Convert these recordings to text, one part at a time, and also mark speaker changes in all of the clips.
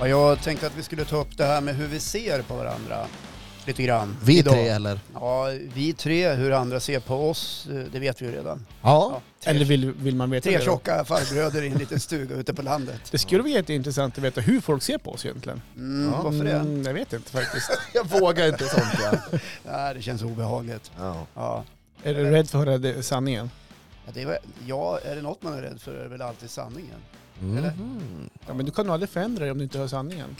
Speaker 1: Ja, jag tänkte att vi skulle ta upp det här med hur vi ser på varandra lite grann.
Speaker 2: Vi
Speaker 1: idag.
Speaker 2: tre eller?
Speaker 1: Ja, vi tre. Hur andra ser på oss, eh, det vet vi ju redan.
Speaker 2: Ja.
Speaker 1: tre,
Speaker 3: Eller vill, vill man veta
Speaker 1: tre
Speaker 3: det? då?
Speaker 1: tjocka farbröder i en liten stuga ute på landet.
Speaker 3: Det skulle vara jätteintressant att veta hur folk ser på oss egentligen.
Speaker 1: Mm,
Speaker 2: Ja.
Speaker 1: Varför det?
Speaker 3: Mm, jag vet inte faktiskt.
Speaker 2: Jag vågar inte sånt ja.
Speaker 1: Nej, det känns obehagligt.
Speaker 2: ja.
Speaker 1: Ja.
Speaker 3: Är du rädd för att höra det- sanningen?
Speaker 1: Ja, det är, väl- ja, är det något man är rädd för är det väl alltid sanningen. Eller?
Speaker 2: Mhm.
Speaker 3: Ja, men du kan nog aldrig förändra dig om du inte hör sanningen.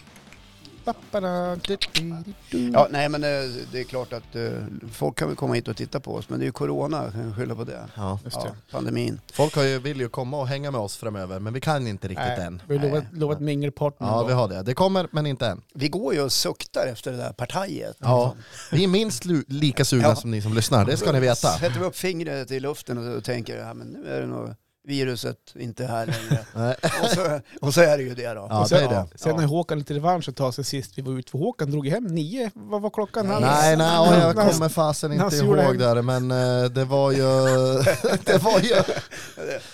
Speaker 3: Pappada, du, du, du,
Speaker 2: Mm.
Speaker 3: du.
Speaker 1: Ja, nej men eh, det är klart att eh, folk kan väl komma hit och titta på oss, men det är ju corona, kan vi skylla på det.
Speaker 2: ja.
Speaker 3: Just det.
Speaker 1: Ja, pandemin.
Speaker 2: Folk har ju, vill ju komma och hänga med oss framöver, men vi kan inte riktigt
Speaker 3: Nej,
Speaker 2: än.
Speaker 3: Vi har lovat,
Speaker 1: Nej. Mm.
Speaker 3: lovat mingelparty någon
Speaker 2: Ja,
Speaker 3: gång.
Speaker 2: vi har det. Det kommer, men inte än.
Speaker 1: Vi går ju och suktar efter det där partiet.
Speaker 2: Ja. Vi är minst lu- lika sugna
Speaker 1: Ja. Alltså.
Speaker 2: som ni som lyssnar, det ska ni veta.
Speaker 1: Sätter vi upp fingret i luften och tänker, ja men nu är det nog viruset inte här längre.
Speaker 2: Nej.
Speaker 1: och, så, och så är det ju det då.
Speaker 2: Ja,
Speaker 1: och
Speaker 3: Och
Speaker 1: så,
Speaker 2: det
Speaker 3: sen,
Speaker 2: är det.
Speaker 3: sen
Speaker 1: Ja.
Speaker 3: när Håkan lite revansch ett tag sen sist vi var ute, för Håkan drog ju hem nio, vad var klockan? Han-
Speaker 2: Nej, nej, och jag
Speaker 3: han-
Speaker 1: Alltså.
Speaker 3: han-
Speaker 2: kommer fasen
Speaker 3: när han
Speaker 2: inte
Speaker 3: gjorde
Speaker 2: ihåg
Speaker 3: det.
Speaker 2: där, men eh, det var ju... det var ju...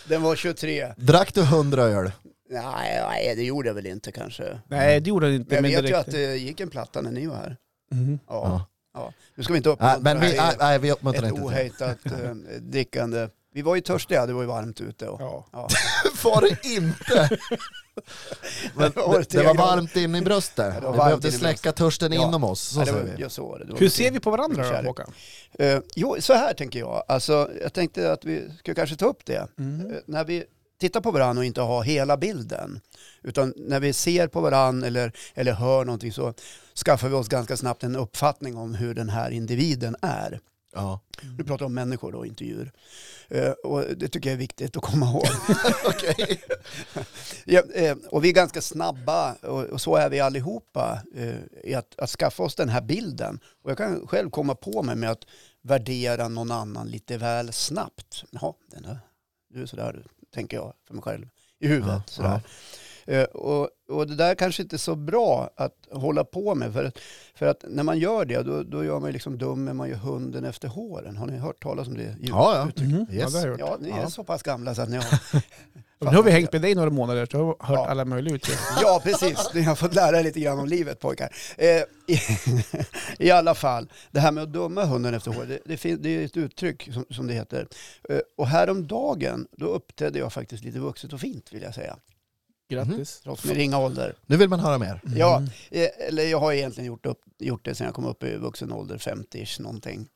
Speaker 1: Den var 23.
Speaker 2: Drack du hundra öl?
Speaker 1: Nej, nej, det gjorde jag väl inte kanske. Men
Speaker 3: Nej, det gjorde han inte.
Speaker 1: jag
Speaker 3: men
Speaker 1: vet ju
Speaker 3: direkt-
Speaker 1: att det gick en platta när ni var här.
Speaker 3: Mhm.
Speaker 1: Ja.
Speaker 2: Ja.
Speaker 1: ja. Nu ska vi inte
Speaker 2: Nej,
Speaker 1: uppmuntra
Speaker 2: men vi,
Speaker 1: till
Speaker 2: nej, nej, vi uppmuntrar
Speaker 1: ett
Speaker 2: inte till
Speaker 1: ohejtat eh, drickande. Vi var ju törstiga, det var ju varmt ute. Och,
Speaker 3: Ja.
Speaker 1: ja.
Speaker 2: det. Var det inte? Men det, det var varmt in i bröstet.
Speaker 1: Ja, det var
Speaker 2: Vi
Speaker 1: varmt
Speaker 2: behövde
Speaker 1: in i
Speaker 2: släcka törsten
Speaker 1: Ja.
Speaker 2: inom oss, så
Speaker 1: Ja, det
Speaker 2: säger
Speaker 1: var,
Speaker 2: vi.
Speaker 1: ja, så var det. det var
Speaker 3: Hur
Speaker 1: mycket-
Speaker 3: ser vi på varandra då,
Speaker 1: Kärlek.
Speaker 3: Håkan?
Speaker 1: Eh, jo, så här tänker jag. Alltså, jag tänkte att vi skulle kanske ta upp det.
Speaker 3: Mhm.
Speaker 1: Eh, när vi tittar på varandra och inte har hela bilden, utan när vi ser på varandra eller, eller hör någonting så skaffar vi oss ganska snabbt en uppfattning om hur den här individen är.
Speaker 2: Ja.
Speaker 1: Nu pratar jag om människor då, inte djur. Eh, och det tycker jag är viktigt att komma ihåg.
Speaker 2: Okej.
Speaker 1: Ja, eh, och vi är ganska snabba, och, och så är vi allihopa, eh, i att, att skaffa oss den här bilden. Och jag kan själv komma på mig med att värdera någon annan lite väl snabbt. Jaha, den där, du är sådär, tänker jag för mig själv i huvudet.
Speaker 2: Ja,
Speaker 1: sådär. Eh, och, och det där kanske inte är så bra att hålla på med. För, att- för att när man gör det, då, då gör man ju liksom dum, men man gör hunden efter håren. Har ni hört talas om det?
Speaker 2: Ja, ja.
Speaker 3: Mhm. Ja,
Speaker 2: Yes.
Speaker 3: det har jag gjort.
Speaker 1: Ja, ni är
Speaker 2: Ja.
Speaker 1: så pass gamla så att ni har...
Speaker 3: Men nu har vi hängt med dig några månader, så jag har hört
Speaker 1: Ja.
Speaker 3: alla möjliga uttryck.
Speaker 1: Ja, precis. Ni har fått lära er lite grann om livet pojkar. Eh, i, I alla fall, det här med att döma hunden efter håret, det, det, fin- det är ett uttryck som, som det heter. Eh, och häromdagen, då uppträdde jag faktiskt lite vuxet och fint vill jag säga.
Speaker 3: Grattis. Mm.
Speaker 1: Trots min ringa ålder.
Speaker 2: Nu vill man höra mer.
Speaker 1: Ja, eh, eller jag har egentligen gjort, upp, gjort det sedan jag kom upp i vuxen ålder, 50-ish någonting.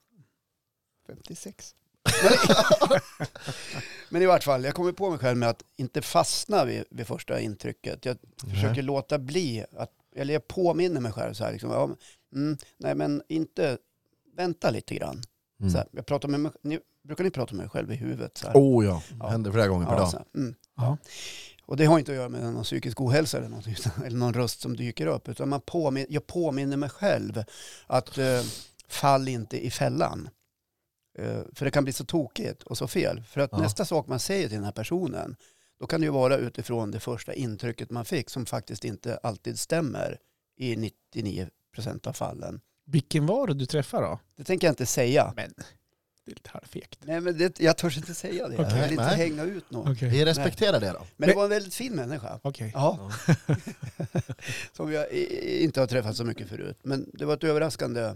Speaker 1: 56. Men- Men i vart fall, jag kommer på mig själv med att inte fastna vid, vid första intrycket. Jag försöker låta bli, att, eller jag påminner mig själv så här, liksom, ja, men, mm, nej men inte, vänta lite grann.
Speaker 2: Mm.
Speaker 1: Så här, jag pratar med mig, ni, brukar ni prata med er själv i huvudet? Så här?
Speaker 2: Oh ja,
Speaker 1: Ja.
Speaker 2: händer flera gånger per
Speaker 1: Ja,
Speaker 2: dag.
Speaker 1: så här, mm.
Speaker 3: Ja.
Speaker 1: Och det har inte att göra med någon psykisk ohälsa eller, någonting, utan- eller någon röst som dyker upp. Utan man påmin jag påminner mig själv att eh, fall inte i fällan. Eh, för det kan bli så tokigt och så fel. För att
Speaker 2: Ja.
Speaker 1: nästa sak man säger till den här personen, då kan det ju vara utifrån det första intrycket man fick som faktiskt inte alltid stämmer i 99 procent av fallen.
Speaker 3: Vilken var det du träffade då?
Speaker 1: Det tänker jag inte säga.
Speaker 3: Men, det är lite halvfegt.
Speaker 1: Nej, men det, jag törs inte säga det.
Speaker 2: Okej.
Speaker 1: Jag vill inte
Speaker 2: Nej.
Speaker 1: hänga ut någon.
Speaker 3: Okej.
Speaker 2: Vi respekterar det då.
Speaker 1: Men det var en väldigt fin människa.
Speaker 3: Okej.
Speaker 1: Ja. som jag i- i- inte har träffat så mycket förut. Men det var ett överraskande eh,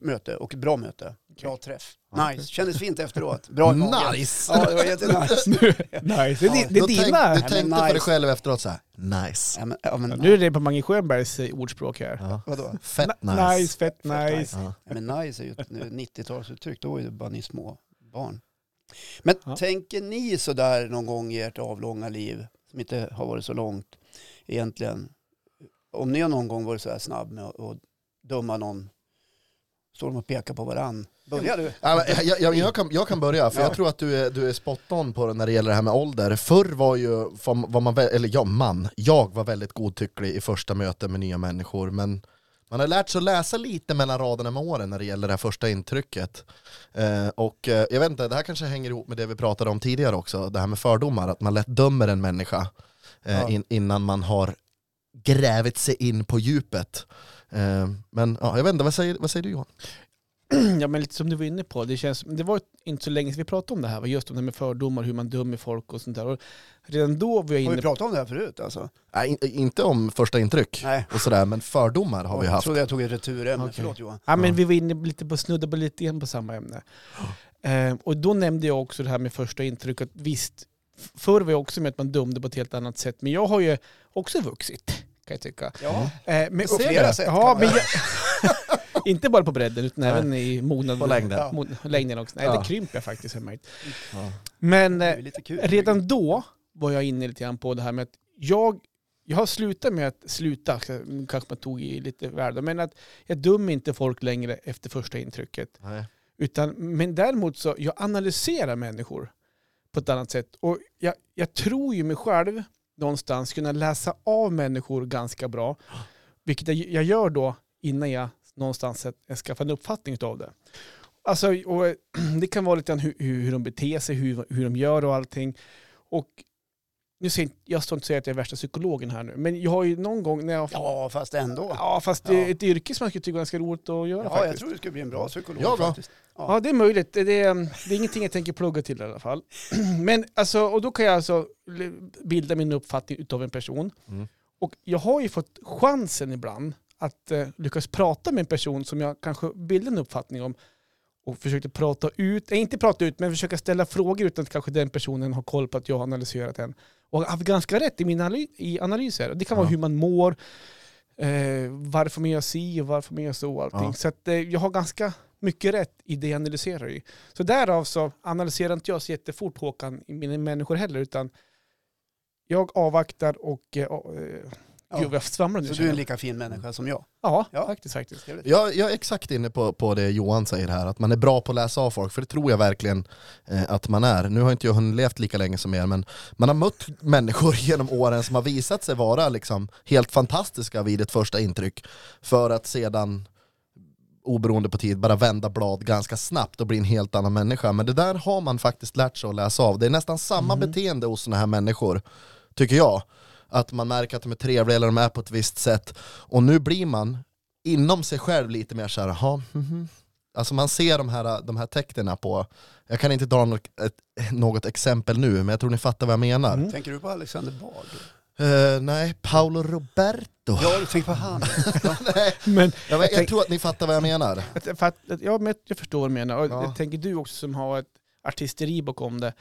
Speaker 1: möte och ett bra möte. Bra träff. Nice. Kändes fint efteråt. Bra i magen.
Speaker 2: Nice!
Speaker 1: Ja, det var jättenice.
Speaker 3: Nice. Det är, di- det
Speaker 2: Då
Speaker 3: är
Speaker 2: tänk-
Speaker 3: dina.
Speaker 2: Du
Speaker 1: men
Speaker 2: tänkte på
Speaker 1: nice.
Speaker 2: dig själv efteråt så här. nice.
Speaker 1: Ja, men, ja, men,
Speaker 3: Ja, nu är det på Mange Schönbergs eh, ordspråk här.
Speaker 2: Ja.
Speaker 1: Vadå?
Speaker 2: Fett
Speaker 3: nice.
Speaker 2: nice.
Speaker 3: fett
Speaker 1: nice.
Speaker 3: nice.
Speaker 2: Ja.
Speaker 1: Ja, men nice är ju ett 90-talsuttryck. Då var ju bara ni små barn. Men
Speaker 3: Ja.
Speaker 1: tänker ni sådär någon gång i ert avlånga liv, som inte har varit så långt egentligen, om ni har någon gång varit sådär snabb med att att döma någon, står de och pekar på varann. Börjar du?
Speaker 2: Ja, men Jag, jag, jag, kan, jag kan börja, för
Speaker 1: Ja.
Speaker 2: jag tror att du är, du är spot on på det när det gäller det här med ålder. Förr var ju, var var man, vä- eller ja, man, jag var väldigt godtycklig i första möten med nya människor, men man har lärt sig att läsa lite mellan raderna med åren när det gäller det här första intrycket. Eh, och eh, jag vet inte, det här kanske hänger ihop med det vi pratade om tidigare också, det här med fördomar, att man lätt dömer en människa eh,
Speaker 1: Ja.
Speaker 2: in, innan man har grävit sig in på djupet. Eh, men ja, jag vet inte, vad säger, vad säger du Johan?
Speaker 3: ja, men lite som du var inne på, det, känns, det var inte så länge sedan vi pratade om det här, va? just om det med fördomar, hur man dömer folk och sånt där. Och redan då var jag
Speaker 1: Har
Speaker 3: inne
Speaker 1: vi pratat om det här förut alltså?
Speaker 2: Nej, in, inte om första intryck
Speaker 1: Nej.
Speaker 2: och sådär, men fördomar har vi
Speaker 1: Jag
Speaker 2: haft.
Speaker 1: trodde jag tog ett returämne.
Speaker 2: Okej.
Speaker 1: Förlåt Johan.
Speaker 3: Ja, men
Speaker 2: Ja.
Speaker 3: vi var inne lite på, snuddade på lite igen på samma ämne. Eh, och då nämnde jag också det här med första intryck, att visst, f- förr var jag också med att man dömde på ett helt annat sätt, men jag har ju också vuxit, kan jag tycka.
Speaker 2: Mm.
Speaker 1: Ja.
Speaker 3: Eh, men,
Speaker 1: På flera sätt kan
Speaker 3: Ja,
Speaker 1: man
Speaker 3: men
Speaker 1: göra.
Speaker 3: jag, inte bara på bredden, utan
Speaker 2: Nej.
Speaker 3: även i mognad.
Speaker 2: På längden.
Speaker 1: Ja.
Speaker 3: Mod- längden också. Nej,
Speaker 2: Ja.
Speaker 3: det krymper jag faktiskt. har jag märkt.
Speaker 2: Ja.
Speaker 3: Men
Speaker 1: Det
Speaker 3: eh,
Speaker 1: är lite kul.
Speaker 3: redan då var jag inne lite grann på det här med att jag, jag har slutat med att sluta, kanske man tog i lite väl, då, men att jag dömer inte folk längre efter första intrycket.
Speaker 2: Nej.
Speaker 3: Utan, men däremot så, jag analyserar människor på ett annat sätt. Och jag, jag tror ju mig själv någonstans kunna läsa av människor ganska bra. Vilket jag, jag gör då innan jag någonstans ett- skaffar en uppfattning av det. Alltså, och eh, det kan vara lite grann hur, hur hur de beter sig, hur, hur de gör och allting. Och nu ser jag, inte- jag står inte och säger att jag är värsta psykologen här nu, men jag har ju någon gång när jag...
Speaker 1: Ja, fast ändå.
Speaker 3: Ja, fast det är
Speaker 1: Ja.
Speaker 3: ett yrke som jag skulle tycka var ganska roligt att göra
Speaker 1: Ja,
Speaker 3: faktiskt.
Speaker 1: jag tror du skulle bli en bra psykolog
Speaker 2: Ja, bra.
Speaker 1: faktiskt.
Speaker 3: Ja, det är möjligt. Det det är, det är ingenting jag tänker plugga till i alla fall. Men alltså, och då kan jag alltså bilda min uppfattning utav en person.
Speaker 2: Mm.
Speaker 3: Och jag har ju fått chansen ibland att eh, lyckas prata med en person som jag kanske bildar en uppfattning om och försökte prata ut, eh, inte prata ut, men försöka ställa frågor utan att kanske den personen har koll på att jag har analyserat den. Och har haft ganska rätt i min analy- i analyser. Det kan vara
Speaker 2: Ja.
Speaker 3: hur man mår, eh, varför man gör si och varför man gör så och allting.
Speaker 2: Ja.
Speaker 3: Så att, eh, jag har ganska mycket rätt i det jag analyserar i. Så därav så analyserar inte jag så jättefort Håkan, i mina människor heller, utan jag avvaktar och... Eh, och, eh,
Speaker 1: Ja.
Speaker 3: Gud vad jag svamlar nu.
Speaker 1: Så du
Speaker 3: känner
Speaker 1: är en
Speaker 3: jag.
Speaker 1: lika fin människa som jag.
Speaker 3: ja,
Speaker 1: Ja.
Speaker 3: faktiskt. faktiskt.
Speaker 1: Trevligt.
Speaker 2: Jag, jag är exakt inne på, på det Johan säger här, att man är bra på att läsa av folk, för det tror jag verkligen eh, att man är. Nu har inte jag hunnit levt lika länge som er, men man har mött människor genom åren som har visat sig vara liksom helt fantastiska vid ett första intryck, för att sedan oberoende på tid, bara vända blad ganska snabbt och bli en helt annan människa. Men det där har man faktiskt lärt sig att läsa av. Det är nästan samma beteende hos sådana här människor, tycker jag. Att man märker att de är trevliga eller de är på ett visst sätt. Och nu blir man inom sig själv lite mer såhär, jaha, mhm. Alltså man ser de här, de här tecknen på, jag kan inte dra något, ett, något exempel nu, men jag tror ni fattar vad jag menar.
Speaker 3: Mm.
Speaker 1: Tänker du på Alexander Bard?
Speaker 2: Eh, nej, Paolo Roberto.
Speaker 1: Ja, du tänker på han.
Speaker 2: nej,
Speaker 3: Men
Speaker 2: jag,
Speaker 3: Jag
Speaker 2: jag,
Speaker 3: tänk-
Speaker 2: tror att ni fattar vad jag menar.
Speaker 3: att, för att, att, ja, men jag förstår vad du menar. Och
Speaker 2: Ja.
Speaker 3: Jag tänker du också som har ett artisteri bakom det.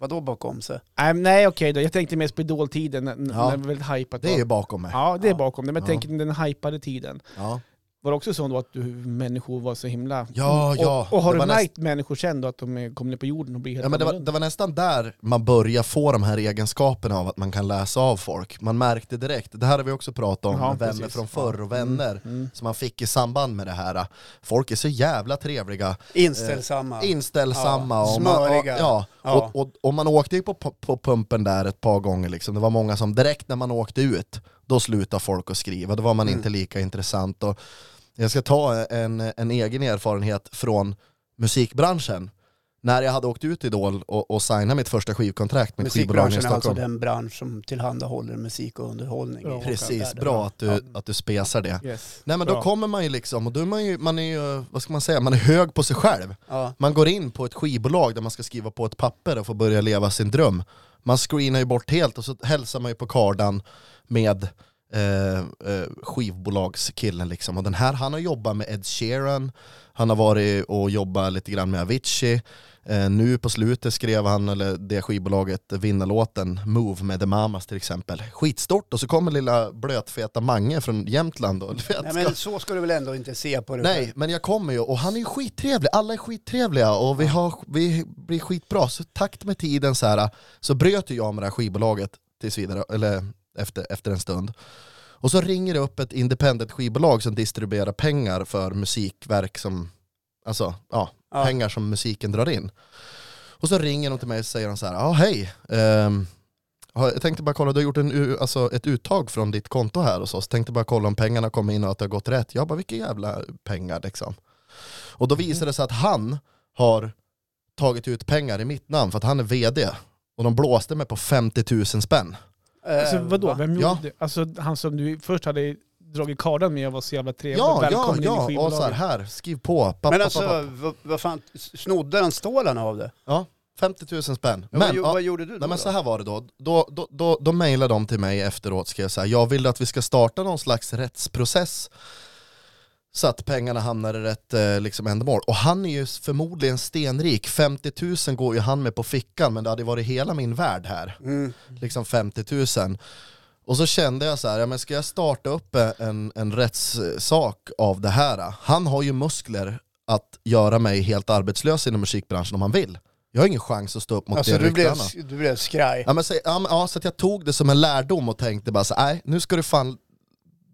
Speaker 1: Vadå bakom sig?
Speaker 3: Nej, nej okej då. Jag tänkte mest på idoltiden när,
Speaker 2: Ja.
Speaker 3: när det var väldigt hajpat.
Speaker 2: Det är ju bakom mig.
Speaker 3: Ja, det är
Speaker 1: Ja.
Speaker 3: bakom det. Men jag
Speaker 2: Ja.
Speaker 3: tänker den hajpade tiden.
Speaker 2: Ja.
Speaker 3: Var det också så då att du, människor var så himla... Mm.
Speaker 2: Ja, ja.
Speaker 3: Och, och har
Speaker 2: Det var
Speaker 3: du märkt människor sen då att de eh, kommer ner på jorden och blir helt
Speaker 2: Ja, men det, var,
Speaker 3: annorlunda?
Speaker 2: det var nästan där man börjar få de här egenskaperna av att man kan läsa av folk. Man märkte direkt, det här har vi också pratat om,
Speaker 3: Ja,
Speaker 2: med vänner
Speaker 3: precis.
Speaker 2: från förr och vänner
Speaker 3: Mm.
Speaker 2: som man fick i samband med det här. Folk är så jävla trevliga, Eh,
Speaker 1: Inställsamma.
Speaker 2: inställsamma.
Speaker 1: Ja,
Speaker 2: och man,
Speaker 1: smöriga.
Speaker 2: Ja,
Speaker 1: Ja.
Speaker 2: Och, och, och man åkte ju på, pu- på pumpen där ett par gånger, liksom. det var många som direkt när man åkte ut, då slutade folk att skriva, då var man
Speaker 1: Mm.
Speaker 2: inte lika intressant. Och jag ska ta en, en egen erfarenhet från musikbranschen. När jag hade åkt ut till Idol och, och signat mitt första skivkontrakt med ett skivbolag i
Speaker 1: Musikbranschen är
Speaker 2: Stockholm.
Speaker 1: alltså den bransch som tillhandahåller musik och underhållning.
Speaker 3: Ja.
Speaker 2: Precis,
Speaker 1: Håkan, där,
Speaker 2: bra att du,
Speaker 1: Ja.
Speaker 2: att du spesar det.
Speaker 3: Yes.
Speaker 2: Nej men
Speaker 3: Bra.
Speaker 2: då kommer man ju liksom, och då är man ju, man är ju, vad ska man säga, man är hög på sig själv.
Speaker 1: Ja.
Speaker 2: Man går in på ett skivbolag där man ska skriva på ett papper och få börja leva sin dröm. Man screenar ju bort helt och så hälsar man ju på kardan med eh, eh, skivbolagskillen liksom. Och den här, han har jobbat med Ed Sheeran, han har varit och jobbat lite grann med Avicii. Eh, nu på slutet skrev han, eller det skivbolaget, vinnarlåten Move med The Mamas till exempel. Skitstort! Och så kommer lilla blötfeta Mange från Jämtland och du vet,
Speaker 1: Nej, men så ska du väl ändå inte se på det?
Speaker 2: Nej, men jag kommer ju och han är ju skittrevlig, alla är skittrevliga och vi, har, vi blir skitbra. Så takt med tiden så här, så bröt ju jag med det här skivbolaget tills vidare, eller efter, efter en stund. Och så ringer det upp ett independent skivbolag som distribuerar pengar för musikverk som, alltså ja,
Speaker 1: Ja.
Speaker 2: pengar som musiken drar in. Och så ringer de till mig och säger de så här, ja ah, hej, ehm, har- jag tänkte bara kolla, du har gjort en, u- alltså ett uttag från ditt konto här och så, så tänkte bara kolla om pengarna kom in och att det har gått rätt. Jag bara, vilka jävla pengar liksom. Och
Speaker 1: Mhm.
Speaker 2: då visade det sig att han har tagit ut pengar i mitt namn för att han är vd. Och de blåste mig på 50 000 spänn.
Speaker 1: Eh,
Speaker 3: Alltså vadå,
Speaker 1: va?
Speaker 3: vem gjorde
Speaker 2: Ja.
Speaker 3: det? Alltså han som du först hade dragit kardan med och var så jävla trevlig och
Speaker 2: Ja, ja,
Speaker 3: välkommen in i
Speaker 2: ja. Och så här,
Speaker 3: skivbolaget.
Speaker 2: här, skriv på. Papp,
Speaker 1: Men
Speaker 2: papp,
Speaker 1: alltså,
Speaker 2: papp.
Speaker 1: vad, vad fan, snodde han stålarna av det?
Speaker 2: 50 000 spänn.
Speaker 1: Men,
Speaker 2: Men,
Speaker 1: vad,
Speaker 2: ja.
Speaker 1: vad gjorde du då?
Speaker 2: Nej, men så
Speaker 1: då?
Speaker 2: här var det då. Då, då, då, då mejlade de till mig efteråt, ska jag säga. Jag ville att vi ska starta någon slags rättsprocess så att pengarna hamnar i rätt eh, liksom, ändamål. Och han är ju förmodligen stenrik. 50 000 går ju han med på fickan, men det hade ju varit hela min värld här.
Speaker 1: Mm.
Speaker 2: Liksom 50 000. Och så kände jag så här, ja, men ska jag starta upp eh, en, en rättssak av det här? eh? Han har ju muskler att göra mig helt arbetslös inom musikbranschen om han vill. Jag har ingen chans att stå upp mot
Speaker 1: Alltså
Speaker 2: det
Speaker 1: du blev,
Speaker 2: ryktarna.
Speaker 1: du blev skraj.
Speaker 2: Ja, men, så, ja, men, ja, så att jag tog det som en lärdom och tänkte bara så nej nu ska du fan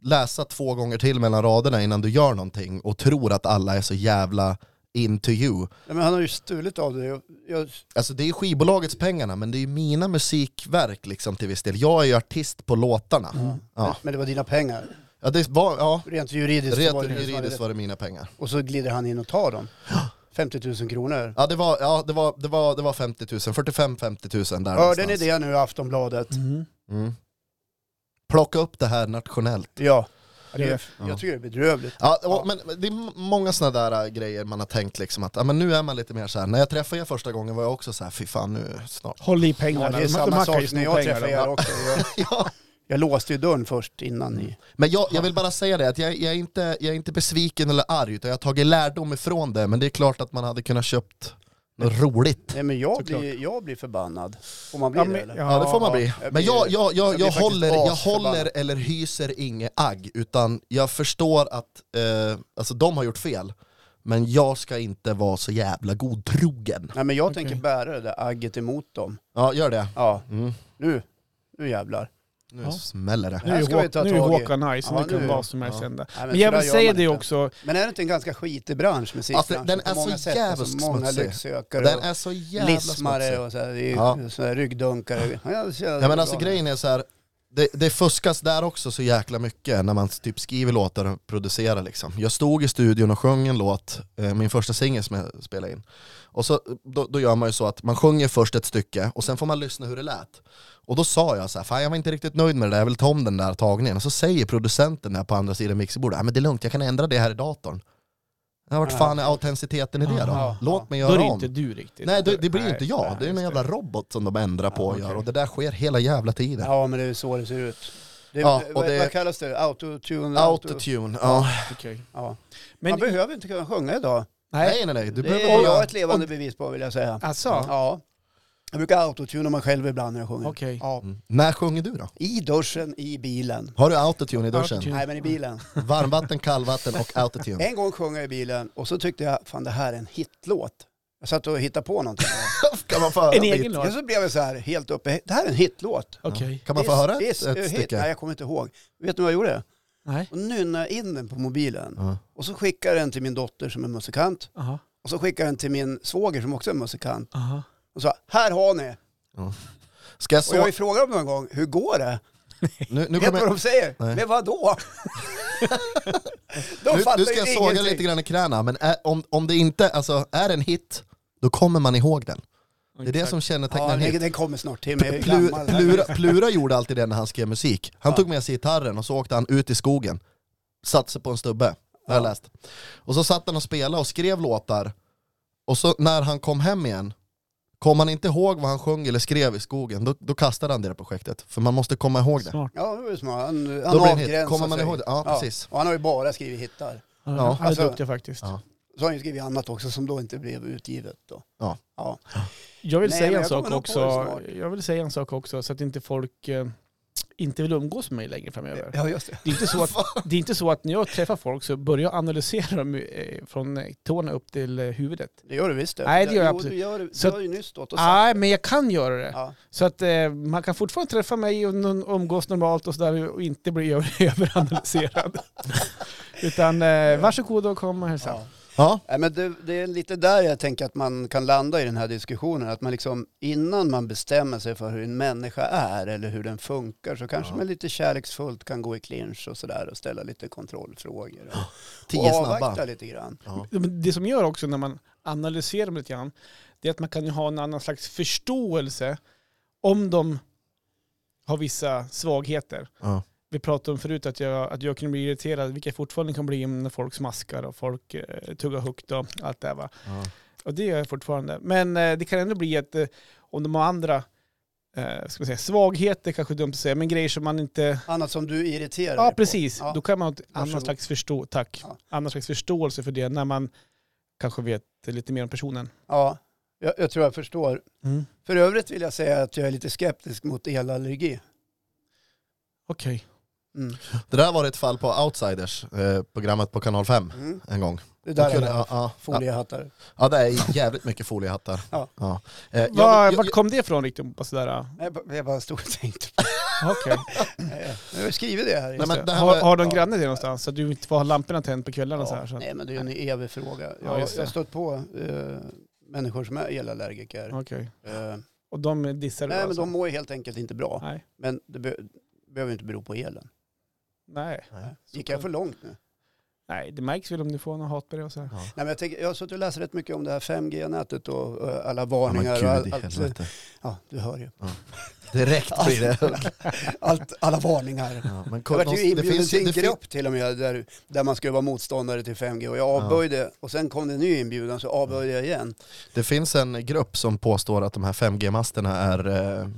Speaker 2: läsa två gånger till mellan raderna innan du gör någonting och tror att alla är så jävla into you.
Speaker 1: Nej, men han har ju stulit av dig. Jag, jag,
Speaker 2: Alltså det är skivbolagets pengarna men det är ju mina musikverk liksom till viss del. Jag är ju artist på låtarna.
Speaker 1: Mm.
Speaker 2: Ja.
Speaker 1: Men det var dina pengar.
Speaker 2: Ja, det var, ja.
Speaker 1: Rent juridiskt så var det
Speaker 2: Rent
Speaker 1: du som hade
Speaker 2: juridiskt
Speaker 1: rätt.
Speaker 2: var det mina pengar.
Speaker 1: Och så glider han in och tar dem. 50 000 kronor.
Speaker 2: Ja det var, ja, det var, det var, det var 50 000, 45-50 000 där
Speaker 1: Hörde ni
Speaker 2: någonstans.
Speaker 1: det nu Aftonbladet?
Speaker 3: Mhm.
Speaker 2: Mm. Plocka upp det här nationellt.
Speaker 1: Ja.
Speaker 3: Det är-
Speaker 1: Det, jag tycker det är bedrövligt.
Speaker 2: Ja, och, men men det är m- många sådana där äh, grejer man har tänkt liksom att, ja, men nu är man lite mer så här. när jag träffade er första gången var jag också så här, fy fan nu snart.
Speaker 3: Håll i
Speaker 1: Ja,
Speaker 3: pengarna.
Speaker 1: det är
Speaker 3: De- de
Speaker 1: samma
Speaker 3: hackar ju
Speaker 1: sak
Speaker 3: små
Speaker 1: när jag
Speaker 3: pengar,
Speaker 1: träffar
Speaker 3: de-
Speaker 1: er också. Jag,
Speaker 2: ja.
Speaker 1: jag låste ju dörren först innan ni...
Speaker 2: Men jag, jag vill bara säga det, att jag, jag, är inte, jag är inte besviken eller arg, utan jag har tagit lärdom ifrån det, men det är klart att man hade kunnat köpt något roligt.
Speaker 1: Nej men jag,
Speaker 3: Såklart.
Speaker 1: blir, jag blir förbannad. Får man bli
Speaker 3: Ja,
Speaker 1: det
Speaker 3: men-
Speaker 1: eller?
Speaker 2: Ja, det får man bli.
Speaker 1: jag
Speaker 2: Men
Speaker 1: blir-
Speaker 2: jag,
Speaker 1: jag
Speaker 2: jag, jag,
Speaker 1: blir
Speaker 2: jag,
Speaker 1: faktiskt
Speaker 2: håller, jag
Speaker 1: asförbannad.
Speaker 2: håller eller hyser inget agg, utan jag förstår att eh, alltså, de har gjort fel, men jag ska inte vara så jävla godtrogen.
Speaker 1: Nej men jag
Speaker 3: Okej.
Speaker 1: tänker bära det där agget emot dem.
Speaker 2: Ja, gör det.
Speaker 1: Ja,
Speaker 2: Mm.
Speaker 1: nu, nu jävlar.
Speaker 2: Nu
Speaker 3: Ja.
Speaker 2: smäller det.
Speaker 3: Nu är
Speaker 1: Här
Speaker 3: ju
Speaker 1: ska vi ta
Speaker 3: Hawk- nu är ju
Speaker 1: tag i.
Speaker 3: Håkan nice,
Speaker 1: Ja,
Speaker 3: det kan
Speaker 1: nu-
Speaker 3: vad som helst
Speaker 2: ja.
Speaker 3: hända.
Speaker 1: Nej, men
Speaker 3: Men
Speaker 1: så
Speaker 3: jag
Speaker 1: där
Speaker 3: vill
Speaker 1: gör
Speaker 3: säga
Speaker 1: man
Speaker 3: det
Speaker 1: inte.
Speaker 3: också,
Speaker 1: Men är det inte en ganska skitig bransch musikbranschen?
Speaker 2: Alltså, den är så jävligt
Speaker 1: Alltså, många
Speaker 2: smutsig.
Speaker 1: lycksökare
Speaker 2: Den
Speaker 1: och
Speaker 2: är så jävla
Speaker 1: lismare
Speaker 2: smutsig.
Speaker 1: och så här, det är
Speaker 2: Ja.
Speaker 1: såna här ryggdunkare. Ja, jag ser
Speaker 2: Ja, men
Speaker 1: bra
Speaker 2: alltså
Speaker 1: nu.
Speaker 2: grejen är så här. Det, det fuskas där också så jäkla mycket när man typ skriver låtar och producerar liksom. Jag stod i studion och sjöng en låt, eh, min första singel som jag spelade in. Och så, då, då gör man ju så att man sjunger först ett stycke och sen får man lyssna hur det lät. Och då sa jag så här, fan jag var inte riktigt nöjd med det där, jag vill ta om den där tagningen. Och så säger producenten där på andra sidan mixerbordet, ja men det är lugnt, jag kan ändra det här i datorn. Ja, vart fan är autenticiteten i det då?
Speaker 1: Aha.
Speaker 2: Låt mig
Speaker 3: då är
Speaker 2: göra
Speaker 3: det
Speaker 2: om.
Speaker 3: inte du riktigt.
Speaker 2: Nej det, det blir ju inte jag,
Speaker 3: nej,
Speaker 2: det är ju
Speaker 3: just
Speaker 2: en jävla robot som de ändrar på
Speaker 1: Ja,
Speaker 2: och
Speaker 1: okej.
Speaker 2: gör och det där sker hela jävla tiden.
Speaker 1: Ja men det är så det ser ut. Det,
Speaker 2: Ja, och
Speaker 1: vad,
Speaker 2: det-
Speaker 1: vad kallas det? Autotune?
Speaker 2: Autotune, ja.
Speaker 3: Okej.
Speaker 1: ja.
Speaker 3: Men,
Speaker 1: Man behöver inte kunna sjunga idag.
Speaker 3: nej,
Speaker 2: Nej nej nej, du
Speaker 1: Det
Speaker 2: behöver
Speaker 1: är jag
Speaker 2: bara...
Speaker 1: ett levande bevis på vill jag säga.
Speaker 3: alltså,
Speaker 1: Ja. Jag brukar autotuna mig själv ibland när jag sjunger.
Speaker 3: okej.
Speaker 1: Ja.
Speaker 2: Mm. När sjunger du då?
Speaker 1: I duschen, i bilen.
Speaker 2: Har du autotune i duschen?
Speaker 3: Autotune.
Speaker 1: Nej men i bilen.
Speaker 2: Varmvatten, kallvatten och autotune.
Speaker 1: En gång sjöng jag i bilen och så tyckte jag, fan det här är en hitlåt. Jag satt och hittade på någonting.
Speaker 2: kan man få höra
Speaker 3: En
Speaker 2: lite?
Speaker 3: egen låt?
Speaker 1: och så blev jag så här helt uppe, det här är en hitlåt.
Speaker 3: Okej.
Speaker 2: Kan man få
Speaker 1: Det är-
Speaker 2: höra
Speaker 1: det är
Speaker 2: ett,
Speaker 1: s-
Speaker 2: ett
Speaker 1: hit. Nej
Speaker 2: stycke?
Speaker 1: jag kommer inte ihåg. Vet du vad jag gjorde?
Speaker 3: Nej.
Speaker 1: Och nynnade in den på mobilen.
Speaker 2: Ja.
Speaker 1: Och så skickade jag den till min dotter som är musikant.
Speaker 3: Aha.
Speaker 1: Och så skickade jag den till min svåger som också är musikant.
Speaker 3: Aha.
Speaker 1: Och sa, här har ni.
Speaker 2: Ska jag
Speaker 1: Och jag har
Speaker 2: så...
Speaker 1: ju frågat dem någon gång, hur går det?
Speaker 2: Nu, nu
Speaker 1: Vet du
Speaker 2: kommer
Speaker 1: vad
Speaker 2: jag...
Speaker 1: de säger?
Speaker 2: Nej.
Speaker 1: Men vadå? de
Speaker 2: Nu,
Speaker 1: fattar
Speaker 2: nu ska
Speaker 1: ju
Speaker 2: jag såga
Speaker 1: ingenting.
Speaker 2: lite grann i knäna, men är, om, om det inte, alltså är det en hit, då kommer man ihåg den. Det är det som kännetecknar
Speaker 1: Ja,
Speaker 2: en hit.
Speaker 1: den, den kommer snart till mig. Jag är
Speaker 2: Plu-
Speaker 1: Eh, gammal.
Speaker 2: Plura, Plura gjorde alltid det när han skrev musik. Han
Speaker 1: Ja.
Speaker 2: tog med sig gitarren och så åkte han ut i skogen. Satte sig på en stubbe, har jag
Speaker 1: Ja.
Speaker 2: läst. Och så satt han och spelade och skrev låtar. Och så när han kom hem igen, kom han inte ihåg vad han sjöng eller skrev i skogen, då, då kastade han det där projektet. För man måste komma ihåg det.
Speaker 3: Smart.
Speaker 1: Ja, det var ju smart. Han,
Speaker 2: Då
Speaker 1: han
Speaker 2: blir det en hit.
Speaker 1: avgränsar
Speaker 2: Kommer man
Speaker 1: sig.
Speaker 2: ihåg det? Ja, precis.
Speaker 1: Och han har ju bara skrivit hittar.
Speaker 3: Ja,
Speaker 2: Ja,
Speaker 3: han är
Speaker 1: alltså-
Speaker 3: duktig faktiskt.
Speaker 2: Ja.
Speaker 1: Så har han ju skrivit annat också som då inte blev utgivet. Då.
Speaker 2: Ja.
Speaker 1: ja.
Speaker 3: Jag vill
Speaker 1: Nej, men
Speaker 3: säga en
Speaker 1: jag
Speaker 3: sak
Speaker 1: kommer nog på det
Speaker 3: också.
Speaker 1: snart.
Speaker 3: Jag vill säga en sak också så att inte folk eh, inte vill umgås med mig längre framöver.
Speaker 1: Ja, just det.
Speaker 3: Det är, inte så att, det är inte så att när jag träffar folk så börjar jag analysera dem eh, från eh, tårna upp till eh, huvudet.
Speaker 1: Det gör du visst det.
Speaker 3: Nej, det gör jag
Speaker 1: jo,
Speaker 3: absolut.
Speaker 1: Du, gör, det.
Speaker 3: Så- Ah.
Speaker 1: du har ju nyss stått och sagt.
Speaker 3: Nej, men jag kan göra det.
Speaker 1: Ja.
Speaker 3: Så att eh, man kan fortfarande träffa mig och någon- umgås normalt och sådär och inte bli ö- överanalyserad. Utan eh, varsågod och kom och hälsa.
Speaker 1: Ja.
Speaker 2: Ja,
Speaker 1: Nej, men det, det är lite där jag tänker att man kan landa i den här diskussionen. Att man liksom, innan man bestämmer sig för hur en människa är eller hur den funkar så kanske
Speaker 2: Ja.
Speaker 1: man lite kärleksfullt kan gå i clinch och sådär och ställa lite kontrollfrågor. Och,
Speaker 2: tio
Speaker 1: och
Speaker 2: snabba.
Speaker 1: avvakta lite grann.
Speaker 2: Ja.
Speaker 3: Men Det som gör också när man analyserar dem lite grann, det är att man kan ju ha en annan slags förståelse om de har vissa svagheter.
Speaker 2: Ja.
Speaker 3: vi pratade om förut att jag, att jag kunde bli irriterad, vilket jag fortfarande kan bli när folk smaskar och folk eh, tuggar högt och allt det här. Va?
Speaker 2: Ja.
Speaker 3: Och det gör jag fortfarande. Men eh, det kan ändå bli att eh, om de har andra eh, ska man säga, svagheter, kanske är dumt att säga, men grejer som man inte...
Speaker 1: Annat som du irriterar dig
Speaker 3: Ja,
Speaker 1: på.
Speaker 3: precis.
Speaker 1: Ja.
Speaker 3: Då kan man ha ett
Speaker 1: Varsågod.
Speaker 3: annan slags, förstå tack.
Speaker 1: Ja.
Speaker 3: Annan slags förståelse för det när man kanske vet lite mer om personen.
Speaker 1: Ja, jag, jag tror jag förstår. För övrigt vill jag säga att jag är lite skeptisk mot elallergi.
Speaker 3: Okej.
Speaker 1: Mm.
Speaker 2: Det där var ett fall på Outsiders, eh, programmet på kanal 5
Speaker 1: Mm.
Speaker 2: en gång.
Speaker 1: Det
Speaker 2: De
Speaker 1: där
Speaker 2: kunde-
Speaker 1: är
Speaker 2: ja, ja, ja,
Speaker 1: foliehattar.
Speaker 2: ja, det är jävligt mycket foliehattar.
Speaker 1: Ja.
Speaker 2: Eh, jag-
Speaker 3: Var,
Speaker 2: jag-
Speaker 3: vart kom det ifrån riktigt? Bara sådär, ah,
Speaker 1: Nej, Jag, bara- jag bara stod och tänkte. på
Speaker 3: okej.
Speaker 1: det. Jag har skrivit det här.
Speaker 2: Nej, men
Speaker 3: Just
Speaker 2: det
Speaker 3: det.
Speaker 2: här
Speaker 3: har,
Speaker 2: var-
Speaker 3: har de
Speaker 1: ja.
Speaker 3: granne till någonstans? Så att du inte får ha lamporna tänd på kvällarna så här?
Speaker 1: ja.
Speaker 3: Så. att-
Speaker 1: Nej, men det är ju en evig fråga. Jag,
Speaker 3: Ja, just det.
Speaker 1: jag har stött på eh, människor som är elallergiker.
Speaker 3: Okej.
Speaker 1: Eh,
Speaker 3: Och de dissar du
Speaker 1: nej, men
Speaker 3: alltså?
Speaker 1: de mår ju helt enkelt inte bra.
Speaker 3: Nej.
Speaker 1: Men det be- behöver inte bero på elen.
Speaker 3: Nej.
Speaker 2: Nej.
Speaker 1: Gick jag för långt nu?
Speaker 3: Nej, det märks väl om du får någon hatbrev och så här.
Speaker 1: Nej, men jag, tänker, jag har suttit och läst rätt mycket om det här 5G-nätet och eh, alla
Speaker 2: Ja, men
Speaker 1: varningar.
Speaker 2: gud i
Speaker 1: och all- allt,
Speaker 2: helvete.
Speaker 1: ja, du hör ju.
Speaker 2: Direkt blir det.
Speaker 1: Allt, alla varningar.
Speaker 2: Ja, men
Speaker 1: Jag
Speaker 2: kolla,
Speaker 1: vart ju
Speaker 2: det
Speaker 1: inbjuden
Speaker 2: finns ju...
Speaker 1: till
Speaker 2: Det
Speaker 1: en
Speaker 2: finns,
Speaker 1: grupp till och med där, där man skulle vara motståndare till 5G och jag
Speaker 2: Ja.
Speaker 1: avböjde och sen kom det en ny inbjudan så avböjde jag igen.
Speaker 2: det finns en grupp som påstår att de här 5G-masterna är eh,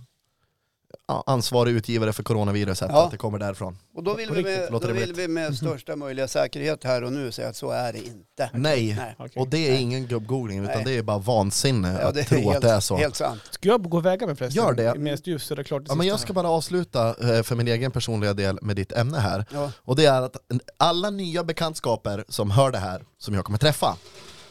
Speaker 2: ja, ansvarig utgivare för coronaviruset,
Speaker 1: Ja.
Speaker 2: att det kommer därifrån.
Speaker 1: Och då vill,
Speaker 2: På
Speaker 1: vi
Speaker 2: riktigt,
Speaker 1: med, då
Speaker 2: låter Mm. det
Speaker 1: vill vi med största möjliga säkerhet här och nu säga att så är det inte.
Speaker 2: Nej.
Speaker 1: Nej.
Speaker 3: Okej.
Speaker 2: Och det är ingen gubbgoogling utan
Speaker 1: Nej.
Speaker 2: det är bara vansinne
Speaker 1: Ja,
Speaker 2: att
Speaker 1: det är
Speaker 2: tro
Speaker 1: helt,
Speaker 2: att det är så.
Speaker 1: helt sant.
Speaker 3: Ska jag gå och väga mig förresten?
Speaker 2: Gör det.
Speaker 3: Medan du suddar klart det
Speaker 2: Ja, men
Speaker 3: sista
Speaker 2: jag
Speaker 3: här.
Speaker 2: ska bara avsluta eh, för min egen personliga del med ditt ämne här.
Speaker 1: Ja.
Speaker 2: Och det är att alla nya bekantskaper som hör det här, som jag kommer träffa.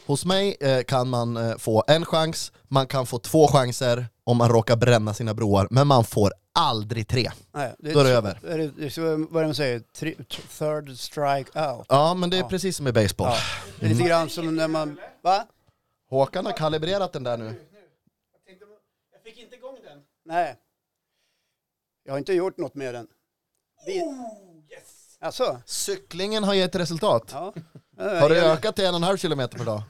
Speaker 2: Hos mig eh, kan man eh, få en chans, man kan få två chanser om man råkar bränna sina broar, men man får aldrig tre.
Speaker 1: Nej,
Speaker 2: Då är det över.
Speaker 1: Är det, det är så- vad är det man säger? Tri, third strike out.
Speaker 2: Ja, men det är
Speaker 1: Ja.
Speaker 2: precis som i baseball.
Speaker 1: Ja. Det är
Speaker 2: Mm.
Speaker 1: lite grann som när man... Va?
Speaker 2: Håkan har kalibrerat den där nu.
Speaker 3: Jag fick inte igång den.
Speaker 1: Nej. Jag har inte gjort något med den. Vi... Alltså?
Speaker 2: Cyklingen har gett resultat.
Speaker 1: Ja.
Speaker 2: Har det ökat till en och en halv kilometer per dag?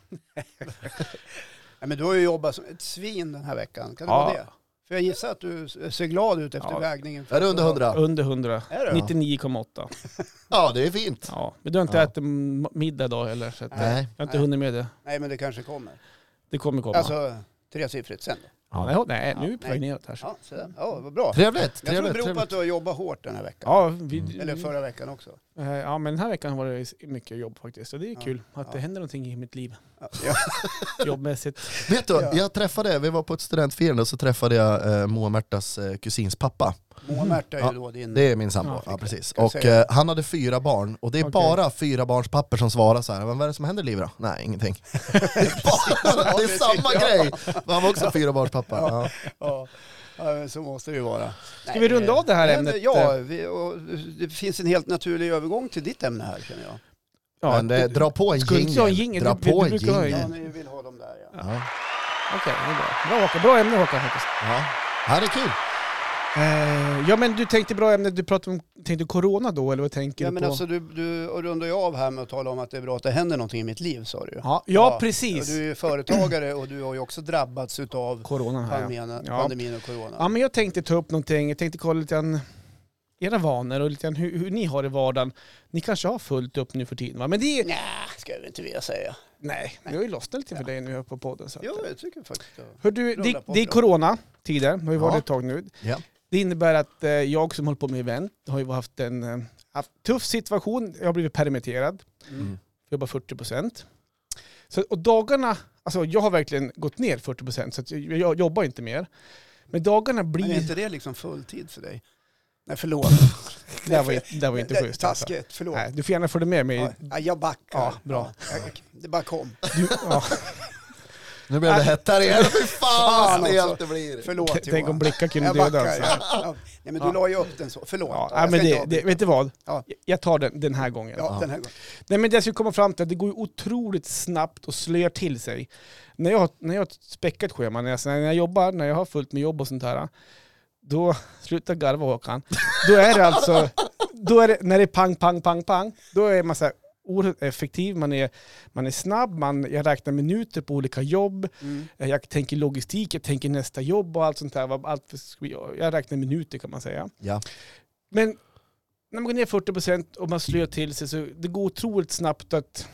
Speaker 1: Nej, men du har ju jobbat som ett svin den här veckan, kan det
Speaker 3: Ja.
Speaker 1: vara det? För jag gissar att du ser glad ut efter
Speaker 3: Ja.
Speaker 1: vägningen.
Speaker 2: Är det under 100?
Speaker 3: Under 100.
Speaker 1: Är det?
Speaker 3: 99,8.
Speaker 2: Ja, det är fint.
Speaker 3: Ja. Men du har inte
Speaker 2: Ja.
Speaker 3: ätit m- middag idag heller. Så att, eh,
Speaker 2: Nej.
Speaker 3: Jag har inte
Speaker 1: Nej.
Speaker 3: hunnit med det.
Speaker 1: Nej, men det kanske kommer.
Speaker 3: Det kommer komma.
Speaker 1: Alltså, tresiffrigt sen då.
Speaker 3: ja, nej, nej, nu är vi på
Speaker 1: nej.
Speaker 3: väg neråt här.
Speaker 1: Ja, så där. ja vad bra.
Speaker 2: Trevligt,
Speaker 1: Jag tror det
Speaker 2: trevligt.
Speaker 1: beror på
Speaker 2: trevligt.
Speaker 1: att du har jobbat hårt den här veckan.
Speaker 3: Ja, vi,
Speaker 1: Mm. Eller förra veckan också.
Speaker 3: eh, ja, men den här veckan var det s- mycket jobb faktiskt. Och det är
Speaker 1: Ja.
Speaker 3: kul att det
Speaker 1: Ja.
Speaker 3: händer någonting i mitt liv.
Speaker 1: Ja.
Speaker 3: Jobbmässigt.
Speaker 2: Vet du,
Speaker 1: Ja.
Speaker 2: jag träffade, vi var på ett studentfirande och så träffade jag eh, Moa Märtas eh, kusins pappa.
Speaker 1: Moa Märta är
Speaker 2: Ja,
Speaker 1: ju då din...
Speaker 2: Det är min sambo,
Speaker 3: Ja.
Speaker 2: ja, precis.
Speaker 1: Jag
Speaker 2: Och
Speaker 1: säger det.
Speaker 2: eh, han hade fyra barn och det är
Speaker 3: Okej.
Speaker 2: bara fyra barns papper som svarar så här. "Men vad är det som händer i livet då? Nej, ingenting. det är, bara, det är
Speaker 1: precis.
Speaker 2: samma grej. Men han var också fyra barns pappa. Ja.
Speaker 1: Ja, ja, men så måste det ju vara.
Speaker 3: Ska vi runda av det här
Speaker 1: Men,
Speaker 3: ämnet? eh?
Speaker 1: Ja, vi, och det finns en helt naturlig övergång till ditt ämne här känner jag.
Speaker 3: Ja,
Speaker 2: Men eh,
Speaker 3: du-
Speaker 2: dra på en
Speaker 3: skulle inte jag ha en
Speaker 2: jingel.
Speaker 3: jingel?
Speaker 2: Dra
Speaker 3: Du- du-
Speaker 2: på
Speaker 3: du
Speaker 2: en
Speaker 3: brukar ha en
Speaker 1: Ja,
Speaker 2: jingel.
Speaker 1: ni vill ha dem där ja.
Speaker 2: Ja.
Speaker 3: Okej, det är bra. Bra, Håkan. bra ämne Håkan faktiskt.
Speaker 2: Ja. Ja, det är kul.
Speaker 3: Eh, ja men du tänkte bra ämne, du pratade om, tänkte du corona då eller vad tänker
Speaker 1: Ja,
Speaker 3: du
Speaker 1: men
Speaker 3: på?
Speaker 1: alltså du, du och rundar ju av här med att tala om att det är bra att det händer någonting i mitt liv sa du ju.
Speaker 3: ja, ja,
Speaker 1: Ja, Och
Speaker 3: precis.
Speaker 1: du är ju företagare och du har ju också drabbats utav
Speaker 3: Corona här ja.
Speaker 1: pandemin,
Speaker 3: Ja.
Speaker 1: pandemin och corona.
Speaker 3: ja men jag tänkte ta upp någonting, jag tänkte kolla lite grann era vanor och lite grann hur, hur ni har i vardagen. Ni kanske har fullt upp nu för tiden va? Men det är...
Speaker 1: Nej, ska jag väl inte vilja säga.
Speaker 3: Nej, vi har ju lossnat lite för dig nu här på podden. Så att,
Speaker 1: Jo, jag tycker faktiskt det.
Speaker 3: Hör du,
Speaker 1: Rulla
Speaker 3: det,
Speaker 1: på
Speaker 3: det är
Speaker 1: bra.
Speaker 3: coronatider, det har ju varit
Speaker 2: Ja.
Speaker 3: ett tag nu.
Speaker 2: Ja.
Speaker 3: Det innebär att eh, jag som håller på med event har ju haft en eh, haft tuff situation. Jag har blivit permitterad,
Speaker 1: Mm.
Speaker 3: jag jobbar 40 procent. Och dagarna, alltså jag har verkligen gått ner 40 procent så att jag, jag jobbar inte mer. Men dagarna
Speaker 1: Men är
Speaker 3: blir...
Speaker 1: inte det liksom fulltid för dig? Nej, förlåt.
Speaker 3: Det där var, ju- det där var ju inte
Speaker 1: Det-
Speaker 3: schysst. Alltså.
Speaker 1: Taskigt, förlåt.
Speaker 3: Nej, du får gärna följa med mig.
Speaker 1: Ja, jag backar.
Speaker 3: Ja, bra.
Speaker 1: Jag- Det bara kom.
Speaker 3: Du, ja,
Speaker 2: Nu blev det hett här igen. Fy fan
Speaker 1: Fan
Speaker 2: vad
Speaker 1: också.
Speaker 2: stelt det blir.
Speaker 1: Förlåt
Speaker 3: tänk om
Speaker 1: Johan.
Speaker 3: blickar kunde
Speaker 1: Jag
Speaker 3: döda.
Speaker 1: backar.
Speaker 3: Alltså.
Speaker 1: Ja. Ja. Nej, men du
Speaker 3: Ja.
Speaker 1: la ju upp den så. Förlåt.
Speaker 3: Ja,
Speaker 1: Jag
Speaker 3: nej,
Speaker 1: ska
Speaker 3: men
Speaker 1: inte
Speaker 3: det, det,
Speaker 1: avbryta.
Speaker 3: vet du vad?
Speaker 1: Ja.
Speaker 3: Jag tar den den här gången.
Speaker 1: Ja, den här gången.
Speaker 3: Nej men det jag skulle komma fram till, är att det går ju otroligt snabbt och slöar till sig. När jag, när jag har ett späckat schema, när jag, när jag jobbar, när jag har fullt med jobb och sånt här, då, sluta garva Håkan, då är det alltså, då är det, när det är pang, pang, pang, pang, då är man så här oerhört effektiv, man är, man är snabb, man, jag räknar minuter på olika jobb,
Speaker 1: Mm.
Speaker 3: Eh, Jag tänker logistik, jag tänker nästa jobb och allt sånt där. vad- Allt för, jag räknar minuter kan man säga.
Speaker 2: Ja.
Speaker 3: Men när man går ner 40% och man slår till sig så det går otroligt snabbt att...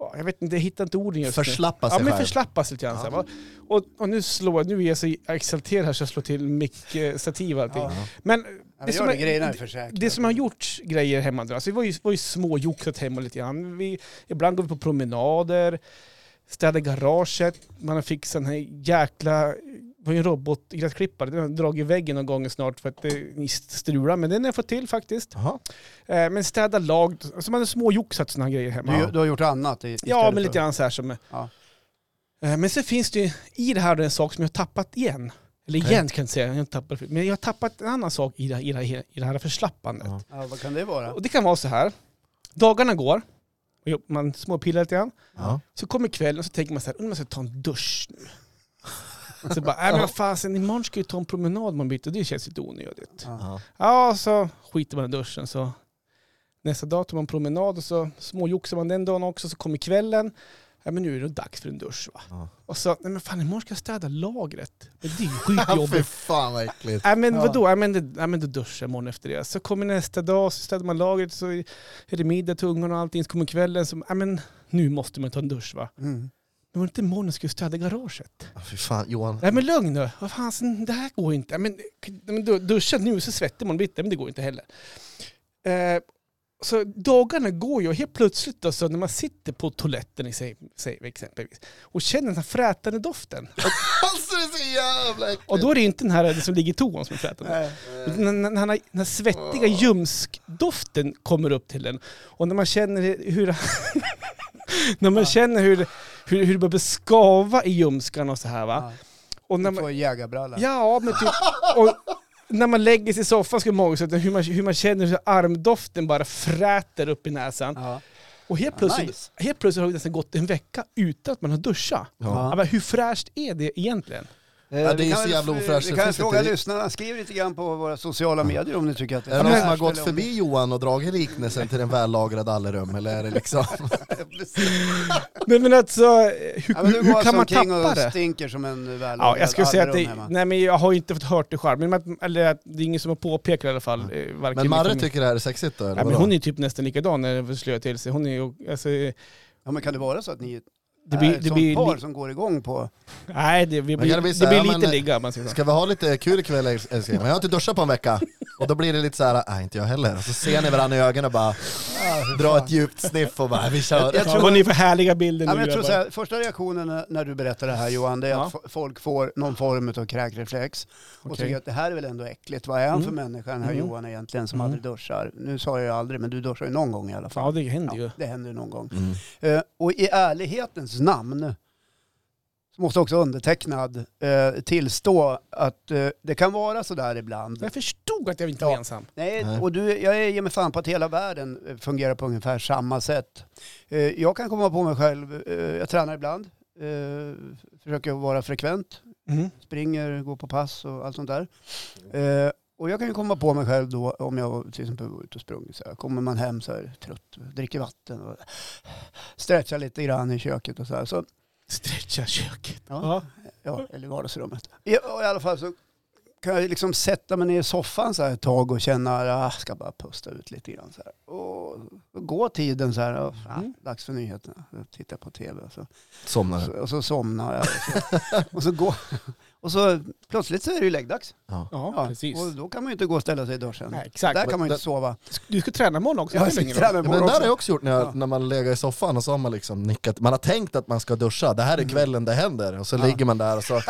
Speaker 3: Ja, Jag vet inte, jag hittar inte orden just nu.
Speaker 2: Förslappa sig
Speaker 3: Ja, men
Speaker 2: själv.
Speaker 3: förslappas lite grann. så här, va? Och, och nu slår jag, nu är jag så exalterad här så jag slår till mick-stativ och allting.
Speaker 1: Ja.
Speaker 3: Men
Speaker 1: Ja,
Speaker 3: Det
Speaker 1: det
Speaker 3: som
Speaker 1: gör det,
Speaker 3: är-
Speaker 1: grejerna är försäkrade.
Speaker 3: det som har gjorts grejer hemma nu, alltså vi var ju, var ju småjoxat hemma lite grann. Vi, ibland går vi på promenader, städar garaget, man har fixat den här jäkla, det var ju en robotgräsklippare, den har dragit i väggen någon gång snart för att det strular, men den har jag fått till faktiskt.
Speaker 2: Jaha.
Speaker 3: Eh, men städa lag, alltså man har småjoxat sådana grejer hemma.
Speaker 1: du, du har gjort annat i,
Speaker 3: Ja, men lite grann så här som...
Speaker 1: Ja.
Speaker 3: Eh, Men sen finns det ju, i det här är en sak som jag har tappat igen. Eller igen
Speaker 2: Okej.
Speaker 3: kan jag inte säga, jag har inte tappat, men jag har tappat en annan sak i det, här- i det, här- i det här förslappandet.
Speaker 2: Ja.
Speaker 1: Ja, vad kan det vara?
Speaker 3: Och det kan vara så här, dagarna går, och jag- man småpillar lite grann,
Speaker 2: Ja.
Speaker 3: så kommer kvällen och så tänker man så här, undrar om jag ska ta en dusch nu. Så bara, nej men vad fasen, imorgon ska jag ta en promenad man byter, det känns lite onödigt.
Speaker 2: Ja.
Speaker 3: Ja, så skiter man i duschen så nästa dag tar man promenad och så småjoxar man den dagen också så kommer kvällen. Ja men nu är det dags för en dusch va.
Speaker 2: Ja.
Speaker 3: Och så, nej men fan imorgon ska jag städa lagret. Men det är ju
Speaker 2: Ja, fy
Speaker 3: skitjobbigt.
Speaker 2: fan vad äckligt.
Speaker 3: Nej men
Speaker 1: Ja.
Speaker 3: vadå, nej men, det, nej, men då duschar jag imorgon efter det. Så kommer nästa dag, så städar man lagret, så är det middag till ungarna och allting. Så kommer kvällen, så, nej men nu måste man ta en dusch va.
Speaker 1: Mm.
Speaker 3: Men var det inte imorgon jag skulle städa garaget?
Speaker 2: Ja, Fy fan Johan.
Speaker 3: Nej men lugn nu, vad fan, det här går ju inte. Nej, Men, nej, men du- duscha nu så svettig man bitti, men det går inte heller. Eh, så dagarna går ju och helt plötsligt då, så när man sitter på toaletten i sig, säger vi exempelvis och känner den här frätande doften.
Speaker 2: Alltså det är så jävla äckligt.
Speaker 3: Och då är det inte den här det som ligger i toan som är frätande. När, när, när den här svettiga ljumskdoften kommer upp till en och när man känner hur... när man känner hur, hur, hur det börjar skava i ljumskan och så här va.
Speaker 1: Ja.
Speaker 3: Och när
Speaker 1: Du
Speaker 3: man,
Speaker 1: får jägarbralla.
Speaker 3: Ja, men typ... Och när man lägger sig i soffan ska man också hur man, hur man känner hur armdoften bara fräter upp i näsan.
Speaker 1: Ja.
Speaker 3: Och helt plötsligt,
Speaker 1: nice.
Speaker 3: helt plötsligt har det nästan gått en vecka utan att man har duschat.
Speaker 2: Ja.
Speaker 3: Ja, men hur fräscht är det egentligen?
Speaker 2: Ja,
Speaker 1: Eh,
Speaker 2: det är
Speaker 1: vi
Speaker 2: ju
Speaker 1: kan
Speaker 2: så
Speaker 1: väl-
Speaker 2: jävla ofräscht.
Speaker 1: Vi
Speaker 2: Det
Speaker 1: kan
Speaker 2: finns
Speaker 1: fråga
Speaker 2: inte-
Speaker 1: lyssnarna. Skriv lite grann på våra sociala medier om ni tycker att det
Speaker 2: Är det någon som har
Speaker 1: fräscht
Speaker 2: gått
Speaker 1: eller om-
Speaker 2: förbi Johan och dragit liknelsen till en vällagrad allerum eller är det liksom?
Speaker 3: Nej men alltså, hur,
Speaker 1: Ja, men
Speaker 3: hur,
Speaker 1: du går
Speaker 3: hur kan
Speaker 1: alltså
Speaker 3: man
Speaker 1: omkring
Speaker 3: tappa
Speaker 1: och
Speaker 3: det?
Speaker 1: stinker som en väl
Speaker 3: Ja, jag skulle säga att det,
Speaker 1: hemma.
Speaker 3: nej men jag har inte fått hört det själv, men att- eller att det är ingen som har påpekat i alla fall. eh, varken
Speaker 2: Men Marre
Speaker 3: liksom-
Speaker 2: tycker det här är sexigt då? Eller
Speaker 3: Nej, men
Speaker 2: vadå?
Speaker 3: hon är typ nästan likadan när den slöar till sig. Hon är ju, alltså, det
Speaker 1: Ja, men kan det vara så att ni är
Speaker 3: blir,
Speaker 1: ett
Speaker 3: det
Speaker 1: sånt
Speaker 3: blir
Speaker 1: par
Speaker 3: li-
Speaker 1: som går igång på...
Speaker 3: Nej, det, vi
Speaker 2: Men
Speaker 3: blir,
Speaker 2: kan det bli
Speaker 3: det
Speaker 2: så här,
Speaker 3: blir
Speaker 2: ja,
Speaker 3: lite
Speaker 2: men-
Speaker 3: ligga om man säger så.
Speaker 2: Ska vi ha lite kul ikväll äls- älskling? Men jag har inte duschat på en vecka. Och då blir det lite så här, nej inte jag heller. Och så ser ni varandra i ögonen och bara drar ett djupt sniff och bara vi kör.
Speaker 1: Jag
Speaker 3: Ja,
Speaker 1: tror-
Speaker 3: Vad ni för härliga bilder
Speaker 1: Ja,
Speaker 3: nu
Speaker 1: men jag tror så
Speaker 3: grabbar.
Speaker 1: här, första reaktionen när- när du berättar det här Johan, det är
Speaker 3: Ja.
Speaker 1: att f- folk får någon form av kräkreflex och
Speaker 3: Okej.
Speaker 1: tycker att det här är väl ändå äckligt. Vad är han för
Speaker 3: Mm.
Speaker 1: människa den här
Speaker 3: Mm.
Speaker 1: Johan egentligen som
Speaker 3: Mm.
Speaker 1: aldrig duschar? Nu sa jag ju aldrig, men du duschar ju någon gång i alla fall.
Speaker 3: Ja, det händer ju.
Speaker 1: Ja, det händer ju någon gång.
Speaker 2: Mm.
Speaker 1: Eh, och i ärlighetens namn så måste också undertecknad eh, tillstå att eh, det kan vara sådär ibland.
Speaker 3: Jag förstod att jag inte var
Speaker 1: Ja.
Speaker 3: ensam.
Speaker 1: Nej,
Speaker 2: Nej.
Speaker 1: och du, jag är- ger mig fan på att hela världen eh, fungerar på ungefär samma sätt. Eh, Jag kan komma på mig själv, eh, jag tränar ibland, eh, försöker vara frekvent,
Speaker 3: Mm.
Speaker 1: springer, går på pass och allt sånt där. Eh, Och jag kan ju komma på mig själv då om jag till exempel var ute och sprungit. Så här. Kommer man hem så här trött, dricker vatten och stretchar lite grann i köket och så här. Så
Speaker 3: Stretcha köket.
Speaker 1: Ja. Ja, eller vardagsrummet. I, och I alla fall så kan jag liksom sätta mig ner i soffan så här ett tag och känna att jag ska bara pusta ut lite grann. Så här. Och då går tiden så här, och, ah,
Speaker 3: Mm.
Speaker 1: dags för nyheterna, jag tittar på tv och så,
Speaker 2: Somnar.
Speaker 1: så, och så somnar jag. Och så, och så, går, och så plötsligt så är det ju läggdags.
Speaker 2: Ja.
Speaker 3: Ja,
Speaker 1: Ja,
Speaker 3: precis.
Speaker 1: Och då kan man ju inte gå och ställa sig i duschen.
Speaker 3: Nej, exakt.
Speaker 1: Där kan man ju
Speaker 2: Men-
Speaker 1: inte sova.
Speaker 3: Du ska träna imorgon också.
Speaker 1: Jag
Speaker 3: det spelar ingen
Speaker 1: tränar
Speaker 3: roll.
Speaker 2: Men det
Speaker 1: imorgon
Speaker 2: där har
Speaker 1: också.
Speaker 2: jag också gjort när, jag,
Speaker 1: Ja.
Speaker 2: när man lägger i soffan och så har man liksom nickat, man har tänkt att man ska duscha, det här
Speaker 1: Mm.
Speaker 2: är kvällen det händer och så ligger man där och så...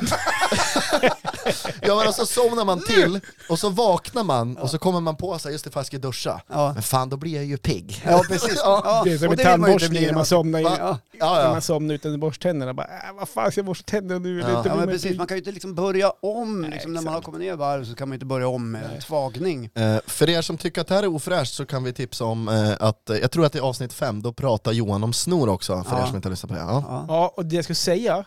Speaker 2: ja men och så somnar man till och så vaknar man och så kommer man på sig just det, fan jag ska duscha.
Speaker 1: Ja.
Speaker 2: Men fan då blir jag ju pigg.
Speaker 1: ja, precis. Ja.
Speaker 3: Det är som
Speaker 1: och
Speaker 3: en
Speaker 1: vill man ju inte
Speaker 3: tandborstning
Speaker 1: bli
Speaker 3: när man somnar, in,
Speaker 1: Ja.
Speaker 2: Ja,
Speaker 3: när
Speaker 2: ja.
Speaker 3: man somnar utan att borsta tänderna. Bara, äh, vad fan ska jag borsta tänderna nu? Eller
Speaker 2: Ja.
Speaker 3: inte
Speaker 1: Ja,
Speaker 3: blir
Speaker 1: men
Speaker 3: man
Speaker 1: precis.
Speaker 3: pigg.
Speaker 1: Man kan ju inte liksom börja om.
Speaker 3: Nej,
Speaker 1: Liksom, när man har
Speaker 3: exakt.
Speaker 1: kommit ner i varv så kan man ju inte börja om med en tvagning.
Speaker 2: Eh, för er som tycker att det här är ofräscht så kan vi tipsa om eh, att, eh, jag tror att det är avsnitt fem, då pratar Johan om snor också för
Speaker 1: Ja.
Speaker 2: er som inte har lyssnat på det. Ja.
Speaker 1: Ja.
Speaker 3: Ja, och det jag skulle säga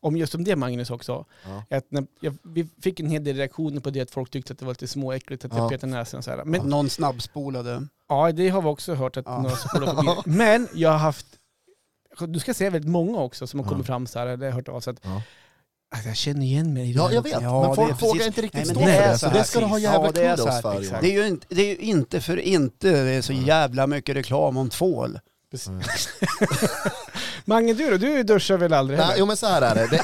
Speaker 3: om just om det Magnus också,
Speaker 2: Ja.
Speaker 3: är att när jag, vi fick en hel del reaktioner på det att folk tyckte att det var lite småäckligt att
Speaker 2: Ja.
Speaker 3: jag petade näsan och så här. Men
Speaker 1: Någon snabbspolade.
Speaker 3: Ja, det har vi också hört att
Speaker 1: Ja.
Speaker 3: några spolar förbi. Men jag har haft, du ska säga väldigt många också som har kommit fram så här, eller hört av sig att
Speaker 2: Ja.
Speaker 3: Alltså, jag känner igen mig i det
Speaker 2: Ja,
Speaker 3: här
Speaker 2: jag
Speaker 3: också.
Speaker 2: vet.
Speaker 1: Ja,
Speaker 2: men
Speaker 1: det är
Speaker 2: folk vågar
Speaker 1: precis-
Speaker 2: inte riktigt
Speaker 1: Nej, men
Speaker 2: stå
Speaker 1: det
Speaker 2: för
Speaker 1: är
Speaker 2: det.
Speaker 1: så
Speaker 2: Så
Speaker 1: här,
Speaker 2: det ska du ha
Speaker 1: precis.
Speaker 2: jävla
Speaker 1: Ja, det är
Speaker 2: cred
Speaker 1: så
Speaker 2: oss
Speaker 1: här,
Speaker 2: för.
Speaker 3: exakt.
Speaker 2: Johan.
Speaker 1: Det är ju inte, det är ju inte för inte det är så jävla mycket reklam om tvål.
Speaker 3: Precis. Mange, du då? Du duschar väl aldrig
Speaker 2: Nej,
Speaker 3: heller?
Speaker 2: jo men så här är det. det, det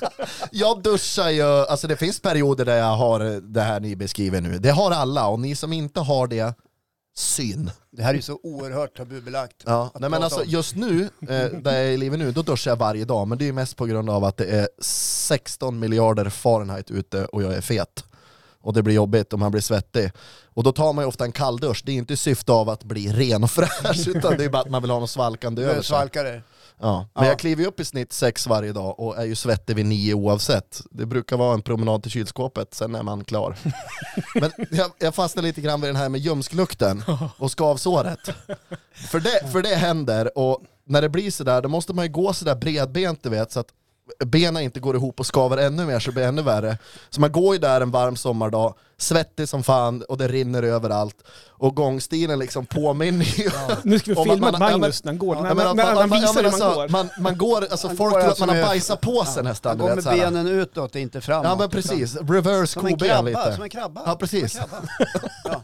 Speaker 2: jag, jag duschar ju, alltså det finns perioder där jag har det här ni beskriver nu. Det har alla och ni som inte har det, syn.
Speaker 1: Det här är ju så oerhört tabubelagt.
Speaker 2: Ja. Nej men
Speaker 1: prata
Speaker 2: alltså
Speaker 1: om.
Speaker 2: just nu, eh, där jag lever nu, då duschar jag varje dag. Men det är ju mest på grund av att det är 16 miljarder Fahrenheit ute och jag är fet. Och det blir jobbigt och man blir svettig. Och då tar man ju ofta en kalldusch. Det är inte i syfte av att bli ren och fräsch utan det är bara att man vill ha något svalkande
Speaker 1: Du
Speaker 2: över
Speaker 1: är
Speaker 2: sig.
Speaker 1: svalkare.
Speaker 2: Ja. Men
Speaker 1: Ja.
Speaker 2: jag kliver ju upp i snitt sex varje dag och är ju svettig vid nio oavsett. Det brukar vara en promenad till kylskåpet, sen är man klar. Men jag, jag fastnar lite grann vid den här med ljumsklukten och skavsåret. För det, för det händer och när det blir sådär, då måste man ju gå sådär bredbent du vet så att benen inte går ihop och skaver ännu mer så det blir ännu värre. Så man går ju där en varm sommardag, svettig som fan och det rinner överallt. Och gångstilen liksom påminner ju
Speaker 3: Nu ska vi
Speaker 2: Om man-
Speaker 3: filma
Speaker 2: man- ja,
Speaker 3: att
Speaker 2: men-
Speaker 3: Magnus när han går.
Speaker 2: Ja,
Speaker 3: När
Speaker 2: men
Speaker 3: när-
Speaker 2: att
Speaker 3: när han
Speaker 2: man- ja,
Speaker 3: visar
Speaker 2: men
Speaker 3: hur
Speaker 2: alltså,
Speaker 3: man går.
Speaker 2: man, man går, alltså
Speaker 1: Man
Speaker 2: folk
Speaker 1: går
Speaker 2: tror att
Speaker 1: alltså
Speaker 2: man har
Speaker 1: med-
Speaker 2: bajsat på sig nästan.
Speaker 1: Han
Speaker 2: Du
Speaker 1: går
Speaker 2: vet,
Speaker 1: med
Speaker 2: så här.
Speaker 1: benen utåt, inte framåt.
Speaker 2: Ja men precis, reverse
Speaker 1: Som en
Speaker 2: koben
Speaker 1: krabba,
Speaker 2: lite.
Speaker 1: som en krabba.
Speaker 2: Ja precis.
Speaker 1: Som en krabba.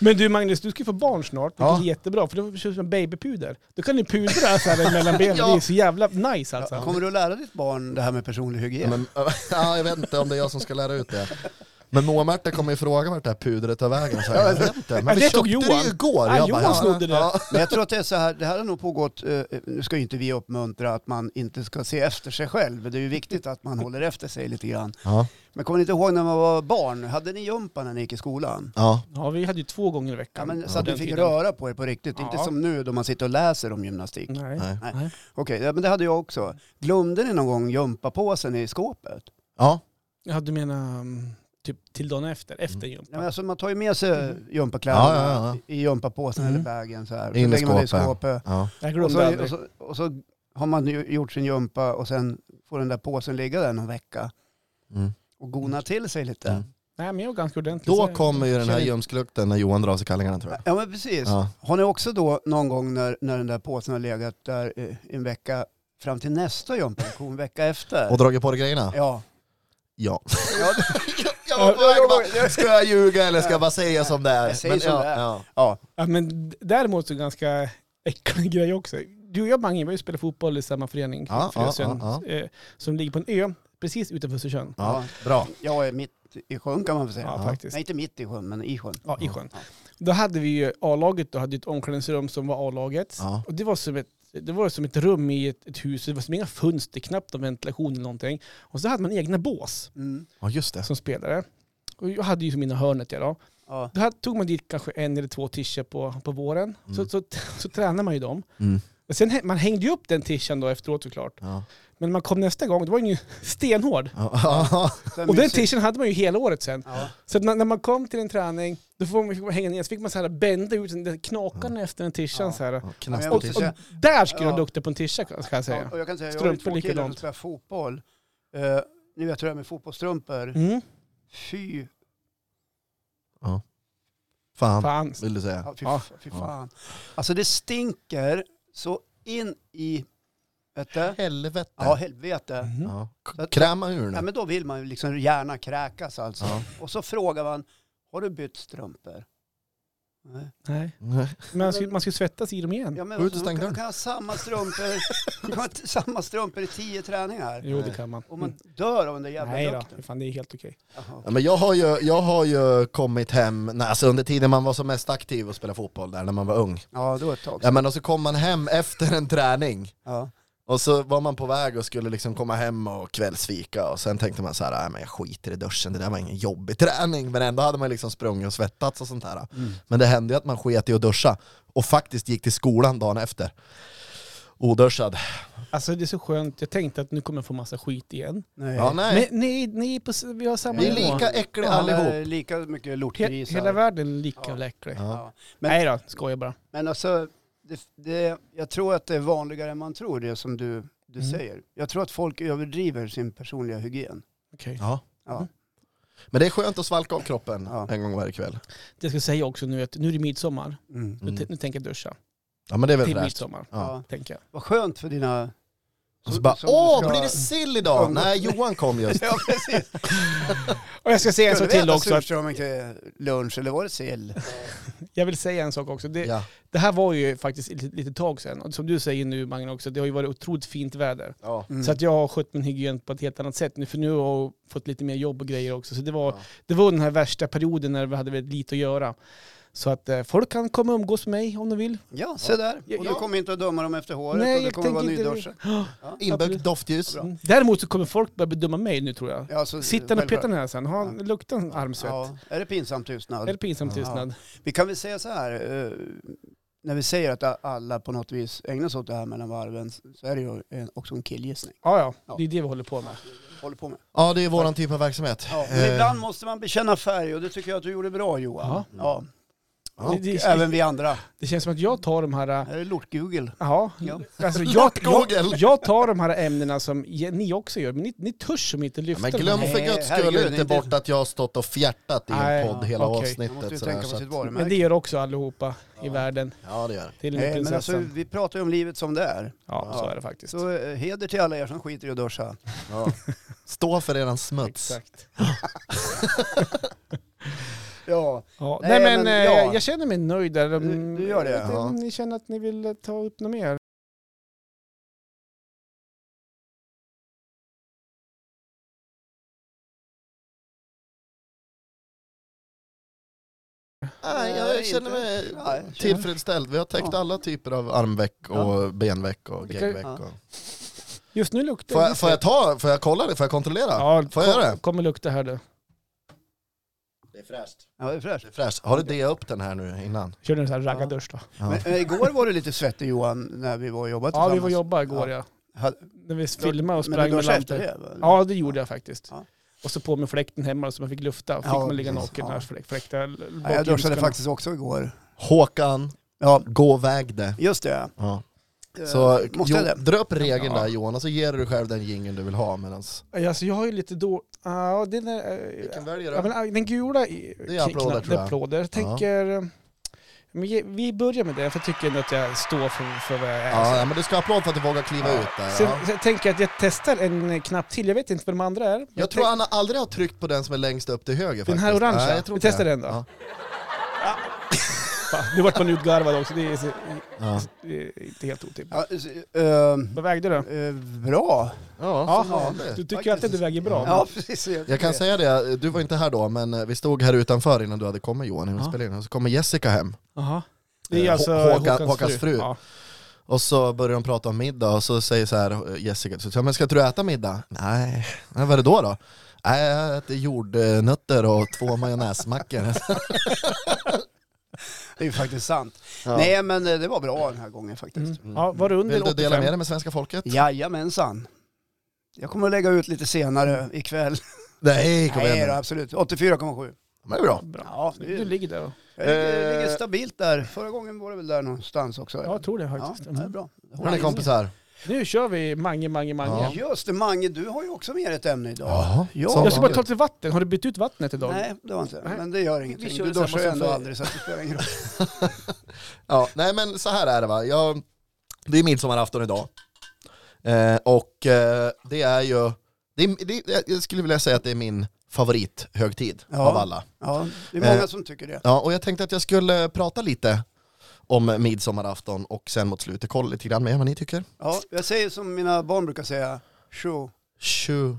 Speaker 3: Men du Magnus, du ska ju få barn snart, vilket
Speaker 2: Ja.
Speaker 3: är jättebra, för då kör du en babypuder. Då kan du pudra så här mellan benen, det är så jävla nice alltså.
Speaker 1: Ja, kommer du att lära ditt barn det här med personlig hygien?
Speaker 2: Men, ja, jag vet inte om det är jag som ska lära ut det. Men Moa-Märta kommer ju fråga vart det här pudret tar vägen. Så jag vet inte. Men vi
Speaker 3: Ja, det
Speaker 2: köpte
Speaker 3: tog
Speaker 2: det
Speaker 3: Johan.
Speaker 2: ju igår.
Speaker 3: Ja,
Speaker 2: Jag
Speaker 3: Johan
Speaker 2: ja,
Speaker 3: snodde det.
Speaker 2: Ja,
Speaker 1: Men jag tror att det är så här, det här har nog pågått, eh, nu ska ju inte vi uppmuntra att man inte ska se efter sig själv, det är ju viktigt att man håller efter sig lite grann.
Speaker 2: ja,
Speaker 1: Men kommer ni inte ihåg när man var barn, hade ni jumpa när ni gick i skolan?
Speaker 2: ja.
Speaker 3: Ja, vi hade ju två gånger i
Speaker 1: Ja,
Speaker 3: veckan.
Speaker 1: men, så att
Speaker 3: på
Speaker 1: du
Speaker 3: den
Speaker 1: fick
Speaker 3: tiden.
Speaker 1: röra på er på riktigt, inte
Speaker 3: Ja.
Speaker 1: som nu då man sitter och läser om gymnastik.
Speaker 2: Mm.
Speaker 1: Okej,
Speaker 3: Nej.
Speaker 2: Nej.
Speaker 1: Nej. ja, men det hade jag också. Glömde ni någon gång gympapåsen i skåpet?
Speaker 2: ja.
Speaker 3: Ja, du menar mm, typ till dagen efter, efter
Speaker 2: Mm.
Speaker 3: gympa.
Speaker 1: Nej, men alltså, man tar ju med sig gympakläderna
Speaker 2: Ja, ja, ja,
Speaker 1: i gympapåsen
Speaker 3: Mm.
Speaker 1: eller bagen så här. Så
Speaker 2: In i
Speaker 1: lägger man det
Speaker 2: skåpet.
Speaker 1: skåpet.
Speaker 2: ja.
Speaker 3: Jag
Speaker 1: Och
Speaker 3: glömde
Speaker 1: så, och,
Speaker 3: aldrig.
Speaker 1: så, och så har man ju gjort sin jumpa och sen får den där påsen ligga där någon vecka
Speaker 2: Mm.
Speaker 1: och gona till sig lite.
Speaker 2: Mm.
Speaker 3: Nej, men jag var ganska ordentlig.
Speaker 2: Då
Speaker 3: så-
Speaker 2: kommer ju den här ljumsklukten när Johan drar sig kallingarna tror jag.
Speaker 1: Ja men precis.
Speaker 2: Ja.
Speaker 1: Har ni också då någon gång när, när den där påsen har legat där eh, en vecka fram till nästa jumpa, en vecka efter?
Speaker 2: Och dragit på dig grejerna?
Speaker 1: Ja.
Speaker 2: Ja.
Speaker 1: Ja,
Speaker 2: Jag var på väg bara, ska jag ljuga eller ska jag bara säga som det är?
Speaker 1: Jag säger som
Speaker 2: ja,
Speaker 1: det är.
Speaker 2: ja.
Speaker 1: ja.
Speaker 3: Ja, men d- däremot så ganska äcklig grej också. Du och jag, Mange, vi har ju spelat fotboll i samma förening,
Speaker 2: Ja, ja,
Speaker 3: Frösön,
Speaker 2: ja,
Speaker 3: eh, som ligger på en ö precis utanför Östersjön.
Speaker 2: Ja, bra.
Speaker 1: Jag är mitt i sjön kan man väl säga.
Speaker 3: Ja, faktiskt.
Speaker 1: Nej, inte mitt i sjön, men i sjön.
Speaker 3: Ja, i sjön. Då hade vi ju A-laget, då hade ett omklädningsrum som var A-lagets.
Speaker 2: Ja.
Speaker 3: Och det var som ett det var som ett rum i ett, ett hus, det var som inga fönster, knappt någon ventilation eller någonting. Och så hade man egna bås
Speaker 1: Mm.
Speaker 2: Ja just det.
Speaker 3: som spelare. Och jag hade ju som mina hörnet jag då.
Speaker 1: Ja.
Speaker 3: Då hade- tog man dit kanske en eller två tischer på, på våren. Så,
Speaker 2: Mm.
Speaker 3: så, så tränade man ju dem.
Speaker 2: Mm.
Speaker 3: Men sen, hä- man hängde ju upp den tischen då efteråt såklart.
Speaker 2: Ja.
Speaker 3: Men när man kom nästa gång, då var den ju stenhård.
Speaker 2: Ja.
Speaker 1: Så här
Speaker 3: Och den
Speaker 1: mysigt.
Speaker 3: tischen hade man ju hela året sen.
Speaker 1: Ja.
Speaker 3: Så att när, när man kom till en träning, då får man, fick man hänga ner, så fick man så här bända ut den där knakarna efter den tishan
Speaker 1: Ja.
Speaker 3: så här.
Speaker 2: Ja,
Speaker 1: Men jag
Speaker 2: Knastertitt.
Speaker 1: måste
Speaker 3: Och
Speaker 1: säga,
Speaker 3: där skulle
Speaker 1: Ja.
Speaker 3: de lukta på en tisha kan jag
Speaker 1: ja,
Speaker 3: säga.
Speaker 1: och jag kan säga, jag har ju två killar
Speaker 3: Strumpor
Speaker 1: som
Speaker 3: likadant.
Speaker 1: spelar fotboll. Uh, ni vet hur det är med fotbollsstrumpor.
Speaker 3: Mm.
Speaker 1: Fy,
Speaker 2: Fan,
Speaker 3: Fan.
Speaker 2: vill du säga.
Speaker 1: ja, fy,
Speaker 3: Ja.
Speaker 1: fy fan. Alltså det stinker så in i, vet du?
Speaker 2: Helvete.
Speaker 1: Ja, helvete.
Speaker 3: Mhm.
Speaker 2: Ja. Mm. Kräma ur
Speaker 1: Ja,
Speaker 2: nu.
Speaker 1: men då vill man ju liksom gärna kräkas alltså.
Speaker 2: Ja.
Speaker 1: Och så frågar man, har du bytt strumpor? Nej.
Speaker 3: Nej.
Speaker 2: Nej.
Speaker 3: Men man skulle, man skulle svettas i dem igen.
Speaker 1: Ja, men
Speaker 2: Gå ut och
Speaker 1: alltså,
Speaker 2: stäng
Speaker 1: man kan,
Speaker 2: dörren.
Speaker 1: man kan ha samma strumpor, man kan ha t- samma strumpor i tio träningar.
Speaker 3: Jo det kan man. Mm.
Speaker 1: Och man dör av den där jävla
Speaker 3: Nej då,
Speaker 1: lukten.
Speaker 3: för fan det är helt okej.
Speaker 1: Jaha.
Speaker 2: Ja, men jag, har ju, jag har ju kommit hem, nej, alltså under tiden man var som mest aktiv och spelade fotboll där när man var ung.
Speaker 1: Ja, då ett tag
Speaker 2: Ja,
Speaker 1: sedan.
Speaker 2: men och så kom man hem efter en träning
Speaker 1: Ja.
Speaker 2: och så var man på väg och skulle liksom komma hem och kvällsfika och sen tänkte man så här, nej men jag skiter i duschen, det där var ingen jobbig träning men ändå hade man liksom sprungit och svettats och sånt där. Men det hände ju att man sket i att duscha och faktiskt gick till skolan dagen efter. Oduschad.
Speaker 3: Alltså det är så skönt, jag tänkte att nu kommer jag få massa skit igen.
Speaker 1: Nej.
Speaker 2: Ja, nej.
Speaker 3: Men ni, ni är på, s- vi har samma
Speaker 2: Vi är
Speaker 3: nivå.
Speaker 2: lika äckliga
Speaker 1: Alla är
Speaker 2: allihop.
Speaker 1: Lika mycket
Speaker 3: He,
Speaker 1: lortgrisar.
Speaker 3: hela världen är lika
Speaker 1: Ja.
Speaker 3: ja. äcklig.
Speaker 2: Ja.
Speaker 1: Ja. Men-
Speaker 3: Nej då, skojar bara.
Speaker 1: Men alltså, det, det, jag tror att det är vanligare än man tror, det som du, du
Speaker 3: Mm.
Speaker 1: säger. Jag tror att folk överdriver sin personliga hygien.
Speaker 3: Okej.
Speaker 2: Ja.
Speaker 1: Ja.
Speaker 3: Mm.
Speaker 2: Men det är skönt att svalka av kroppen
Speaker 1: Ja.
Speaker 2: en gång varje kväll.
Speaker 3: Det jag ska säga också nu är att nu är det midsommar.
Speaker 1: Mm.
Speaker 3: Nu,
Speaker 2: Mm.
Speaker 3: t- nu tänker jag duscha.
Speaker 2: Ja men det är väl
Speaker 3: Till
Speaker 2: fräscht.
Speaker 3: midsommar,
Speaker 1: Ja.
Speaker 3: tänker jag.
Speaker 1: Vad skönt för dina
Speaker 2: Och så bara,
Speaker 1: Som
Speaker 2: åh,
Speaker 1: ska-
Speaker 2: blir det sill idag?
Speaker 1: umgås
Speaker 2: Nej, Johan kom just.
Speaker 1: Ja, precis.
Speaker 3: Och jag ska säga en
Speaker 1: Skulle
Speaker 3: sak
Speaker 1: vi
Speaker 3: till
Speaker 1: äta
Speaker 3: också. Att
Speaker 1: surströmming till lunch eller var det sill?
Speaker 3: jag vill säga en sak också. Det,
Speaker 2: Ja,
Speaker 3: det här var ju faktiskt ett litet tag sedan. Och som du säger nu Magnus också, det har ju varit otroligt fint väder.
Speaker 2: ja.
Speaker 1: Mm.
Speaker 3: Så att jag har skött min hygien på ett helt annat sätt nu, för nu har jag fått lite mer jobb och grejer också. Så det var,
Speaker 2: Ja.
Speaker 3: det var den här värsta perioden när vi hade väldigt lite att göra. Så att eh, folk kan komma och umgås med mig om de vill.
Speaker 1: Ja, se där.
Speaker 3: Ja,
Speaker 1: Och
Speaker 3: ja.
Speaker 1: du kommer inte att döma dem efter håret
Speaker 3: Nej,
Speaker 1: och det
Speaker 3: jag
Speaker 1: kommer vara
Speaker 3: tänker inte
Speaker 1: nyduschat.
Speaker 2: Inbyggt doftljus.
Speaker 1: Bra.
Speaker 3: Mm. Däremot så kommer folk börja bedöma mig nu tror jag.
Speaker 1: Ja, så-
Speaker 3: Sitta och peta
Speaker 1: självklart.
Speaker 3: ner sen, ha,
Speaker 1: Ja.
Speaker 3: lukta en armsvett.
Speaker 1: Ja, är det pinsam tystnad?
Speaker 3: Eller pinsam tystnad.
Speaker 1: Vi kan väl säga så här, eh, när vi säger att alla på något vis ägnar sig åt det här mellan varven så är det ju en, också en killgissning.
Speaker 3: Ja. ja,
Speaker 1: Ja.
Speaker 3: det är det vi håller på med.
Speaker 1: Håller på med.
Speaker 2: Ja, det är våran typ av verksamhet.
Speaker 1: Ja, men
Speaker 2: Eh,
Speaker 1: ibland måste man bekänna färg och det tycker jag att du gjorde bra Johan.
Speaker 3: Ja.
Speaker 1: Ja.
Speaker 2: Ja.
Speaker 1: Och
Speaker 3: Det- det-
Speaker 1: även vi andra.
Speaker 3: Det känns som att jag tar de här... äh,
Speaker 1: Här är lortgugel.
Speaker 3: Ja,
Speaker 1: Ja.
Speaker 3: alltså jag, jag,
Speaker 2: Lortgogel!
Speaker 3: jag tar de här ämnena som ge- ni också gör, men ni, ni törs som inte
Speaker 2: Ja,
Speaker 3: lyfta
Speaker 2: men
Speaker 3: de
Speaker 2: glöm
Speaker 3: här.
Speaker 2: för
Speaker 1: Nej,
Speaker 2: guds skull
Speaker 1: herregud,
Speaker 2: inte
Speaker 1: inte-
Speaker 2: bort att jag har stått och fjärtat i
Speaker 3: Nej,
Speaker 2: en podd hela
Speaker 3: okej.
Speaker 1: Man måste
Speaker 2: avsnittet.
Speaker 1: ju
Speaker 2: sådär,
Speaker 1: tänka på
Speaker 2: så att-
Speaker 1: sitt
Speaker 3: Men det
Speaker 1: varumärke.
Speaker 3: gör också allihopa i
Speaker 2: Ja.
Speaker 3: världen,
Speaker 2: Ja, det gör det.
Speaker 3: till och med
Speaker 1: Nej, men alltså,
Speaker 3: prinsessan.
Speaker 1: vi pratar ju om livet som det är.
Speaker 3: Ja,
Speaker 2: Ja.
Speaker 3: så är det faktiskt.
Speaker 1: Så eh, heder till alla er som skiter i att duscha.
Speaker 2: Ja. Stå för eran smuts.
Speaker 3: Exakt.
Speaker 1: Ja,
Speaker 3: Ja. Nej,
Speaker 1: Nej,
Speaker 3: men,
Speaker 1: men,
Speaker 3: eh,
Speaker 1: ja.
Speaker 3: jag- jag känner mig nöjd där.
Speaker 1: Du- du gör det,
Speaker 3: Om
Speaker 2: ja.
Speaker 3: Ni känner att ni vill eh, ta upp något mer?
Speaker 2: Nej, jag
Speaker 1: Nej,
Speaker 2: känner
Speaker 1: inte.
Speaker 2: mig
Speaker 1: Ja, jag känner-
Speaker 2: tillfredsställd. Vi har täckt
Speaker 1: Ja.
Speaker 2: alla typer av armveck och benveck och
Speaker 3: Okej.
Speaker 2: geggveck.
Speaker 1: Ja.
Speaker 2: Och...
Speaker 3: Just nu luktar
Speaker 2: Får,
Speaker 3: det
Speaker 2: jag- får jag ta, får jag kolla det, får jag kontrollera?
Speaker 3: Ja,
Speaker 2: Får jag göra det?
Speaker 3: kommer lukta här du.
Speaker 2: Det är fräscht.
Speaker 1: ja det är fräscht.
Speaker 2: Det är fräscht. Har du det upp den här nu innan?
Speaker 3: Kör den så här
Speaker 1: Ja.
Speaker 3: raggardusch då.
Speaker 2: Ja.
Speaker 1: Men, eh, igår var du lite svettig Johan när vi var och jobbade
Speaker 3: Ja, vi
Speaker 1: tillsammans.
Speaker 3: var och jobbade igår ja.
Speaker 1: Hade-
Speaker 3: När vi filmade och
Speaker 1: Men
Speaker 3: sprang
Speaker 1: du
Speaker 3: med
Speaker 1: duschade efter
Speaker 3: lampor.
Speaker 1: det? va?
Speaker 3: Ja, det gjorde jag faktiskt.
Speaker 1: Ja.
Speaker 3: Och så på med fläkten hemma så man fick lufta. Fick
Speaker 1: Ja,
Speaker 3: man ligga
Speaker 1: precis.
Speaker 3: naken
Speaker 1: Ja.
Speaker 3: här fläk, fläkta l-
Speaker 1: Nej,
Speaker 3: bak
Speaker 1: jag
Speaker 3: i
Speaker 1: duschade
Speaker 3: ljuskan.
Speaker 1: faktiskt också igår.
Speaker 2: Håkan,
Speaker 1: Ja,
Speaker 2: gå väg det.
Speaker 1: just det.
Speaker 2: Ja.
Speaker 1: Eh,
Speaker 2: Så
Speaker 1: Måste jag
Speaker 2: jo,
Speaker 1: det?
Speaker 2: dra upp regeln
Speaker 3: Ja.
Speaker 2: där Johan och så ger du dig själv den jingeln du vill ha medans...
Speaker 3: Ja, Alltså jag har ju lite då... Ja, den där... eh,
Speaker 2: Vilken väljer
Speaker 3: Ja,
Speaker 2: du?
Speaker 3: men, eh, den gula i-
Speaker 2: Det är applåder,
Speaker 3: knapp-
Speaker 2: tror jag.
Speaker 3: applåder. Jag tänker... eh, Men ge- vi börjar med det, för jag tycker ändå att jag står för, för vad jag är.
Speaker 2: Ja, ja, men du ska ha applåd för att du vågar kliva ut där.
Speaker 3: Sen,
Speaker 2: Alltså. Ja.
Speaker 3: sen tänker jag att jag testar en eh, knapp till. Jag vet inte vad de andra är.
Speaker 2: Jag tror han aldrig har tryckt på den som är längst upp till höger
Speaker 3: Den
Speaker 2: faktiskt.
Speaker 3: här orangea?
Speaker 2: Nej, jag tror
Speaker 3: Vi
Speaker 2: inte
Speaker 3: testar
Speaker 2: det.
Speaker 3: den då.
Speaker 2: Ja.
Speaker 3: Fan, Nu vart man utgarvad också. Det är, så-
Speaker 2: Ja.
Speaker 3: det är inte helt otippat.
Speaker 1: Ja, s- ehm,
Speaker 3: Vad vägde du?
Speaker 1: eh, bra.
Speaker 2: Ja, som
Speaker 3: Ja,
Speaker 2: vanligt.
Speaker 3: du tycker alltid att du väger bra.
Speaker 1: Ja, precis.
Speaker 2: Jag kan säga det, du var inte här då, men eh, vi stod här utanför innan du hade kommit Johan, innan vi
Speaker 3: Ja.
Speaker 2: spelade in, och så kommer Jessica hem.
Speaker 3: Jaha. Det är
Speaker 2: Eh,
Speaker 3: alltså
Speaker 2: Hå- Håkan-
Speaker 3: Håkans,
Speaker 2: Håkans
Speaker 3: fru.
Speaker 2: fru. Och så börjar de prata om middag, och så säger så här eh, Jessica, så, säger jag, men ska inte du äta middag? Nej, "Nej, vad är det då då? Nej, jag äter jordnötter och två majonnäsmackor.
Speaker 1: Det är ju faktiskt sant.
Speaker 2: Ja.
Speaker 1: Nej, men eh, det var bra den här gången faktiskt.
Speaker 3: Mm. Ja, var det under
Speaker 2: Vill du dela
Speaker 3: 85?
Speaker 2: med dig med svenska folket?
Speaker 1: Jajamensan. Jag kommer att lägga ut lite senare ikväll.
Speaker 2: Nej, kom
Speaker 1: Nej,
Speaker 2: igen
Speaker 1: då,
Speaker 2: nu.
Speaker 1: absolut. 84,7.
Speaker 2: Men det är bra.
Speaker 3: Bra.
Speaker 1: Ja, det
Speaker 3: Du
Speaker 1: är,
Speaker 3: ligger där. och-
Speaker 1: jag ligger,
Speaker 2: Eh.
Speaker 1: ligger stabilt där. Förra gången var det väl där någonstans också.
Speaker 3: Ja, jag tror det
Speaker 1: ja,
Speaker 3: faktiskt.
Speaker 1: det är
Speaker 3: Mm.
Speaker 1: bra. Det håller
Speaker 2: Hörni
Speaker 1: i.
Speaker 2: kompisar.
Speaker 3: Nu kör vi Mange, Mange, Mange.
Speaker 1: Just det, Mange, du har ju också med ett ämne idag.
Speaker 2: Jaha.
Speaker 1: Ja.
Speaker 2: Som
Speaker 3: Jag ska bara
Speaker 2: vanligt.
Speaker 3: ta lite vatten. Har du bytt ut vattnet idag?
Speaker 1: Nej, det var inte.
Speaker 3: Nej.
Speaker 1: Men det gör ingenting.
Speaker 2: kör
Speaker 1: Du
Speaker 2: samma
Speaker 1: duschar ju
Speaker 2: som
Speaker 1: ändå
Speaker 2: för-
Speaker 1: aldrig så att det spelar ingen roll.
Speaker 2: Ja, nej men så här är det va. Jag, det är midsommarafton idag. Eh, och eh, det är ju, det är, det, jag skulle vilja säga att det är min favorithögtid
Speaker 1: Ja.
Speaker 2: av alla.
Speaker 1: Ja, det är många
Speaker 2: Eh.
Speaker 1: som tycker det.
Speaker 2: Ja, och jag tänkte att jag skulle prata lite om midsommarafton och sen mot slutet kolla lite grann med vad ni tycker.
Speaker 1: Ja, jag säger som mina barn brukar säga, tjo.
Speaker 2: Tjo.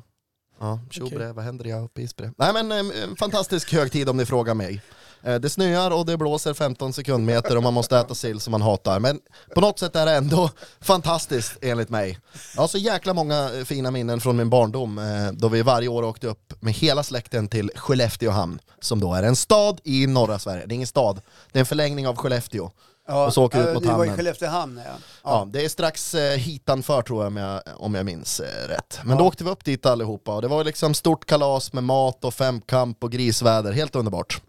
Speaker 2: Ja, tjo
Speaker 3: Okej.
Speaker 2: bre, vad händer jag uppe i Isbre? Nej men eh, en fantastisk högtid om ni frågar mig. Eh, Det snöar och det blåser 15 sekundmeter och man måste äta sill som man hatar. Men på något sätt är det ändå fantastiskt enligt mig. Jag har så jäkla många eh, fina minnen från min barndom eh, då vi varje år åkte upp med hela släkten till Skellefteåhamn som då är en stad i norra Sverige. Det är ingen stad, det är en förlängning av Skellefteå.
Speaker 1: Ja,
Speaker 2: Och så åker du ut
Speaker 1: eh,
Speaker 2: mot
Speaker 1: Ni var i
Speaker 2: hamnen.
Speaker 1: Skelleftehamn, ja.
Speaker 2: Ja, det är strax eh, hitanför tror jag om, jag om jag minns eh, rätt. Men då åkte vi upp dit allihopa och det var liksom stort kalas med mat och femkamp och grisväder, helt underbart.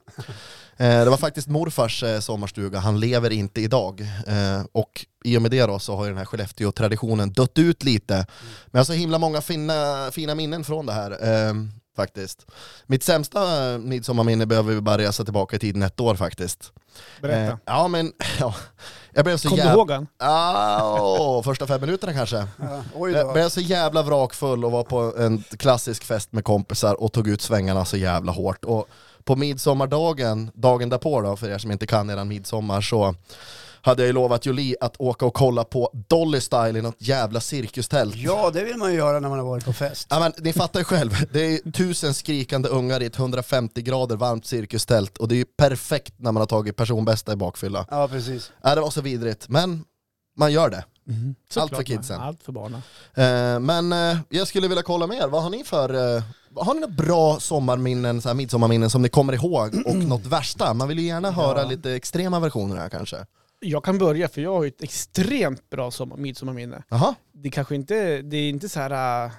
Speaker 2: Eh, det var faktiskt morfars eh, sommarstuga, han lever inte idag. Eh, och i och med det då så har ju den här Skellefteå-traditionen dött ut lite. Men jag har så himla många fina, fina minnen från det här. Eh, faktiskt. Mitt sämsta eh, midsommarminne behöver vi bara resa tillbaka i tiden ett år faktiskt.
Speaker 3: Berätta.
Speaker 2: Eh, ja men, ja, jag blev så
Speaker 3: Kom du
Speaker 2: jävla...
Speaker 3: ihåg den?
Speaker 2: Ah, Åh, första fem minuterna kanske.
Speaker 1: Ja, oj
Speaker 2: Jag
Speaker 1: då.
Speaker 2: blev så jävla vrakfull och var på en klassisk fest med kompisar och tog ut svängarna så jävla hårt. Och på midsommardagen, dagen därpå då, för er som inte kan eran midsommar, så hade jag ju lovat Julie att åka och kolla på Dolly Style i något jävla cirkustält.
Speaker 1: Ja, det vill man ju göra när man har varit på fest.
Speaker 2: Ja, men, ni fattar ju själv, det är tusen skrikande ungar i ett 150 grader varmt cirkustält och det är ju perfekt när man har tagit personbästa i bakfylla.
Speaker 1: Ja, precis.
Speaker 2: Ja, det var så vidrigt, men man gör det.
Speaker 3: Såklart,
Speaker 2: Mm. för kidsen.
Speaker 3: man. Allt för barnen.
Speaker 2: Eh, men eh, jag skulle vilja kolla med er, vad har ni för, eh, har ni några bra sommarminnen, så här midsommarminnen som ni kommer ihåg och något värsta? Man vill ju gärna höra lite extrema versioner här kanske.
Speaker 3: Jag kan börja för jag har ju ett extremt bra sommar, midsommarminne.
Speaker 2: Jaha,
Speaker 3: Det kanske inte, det är inte så här... äh,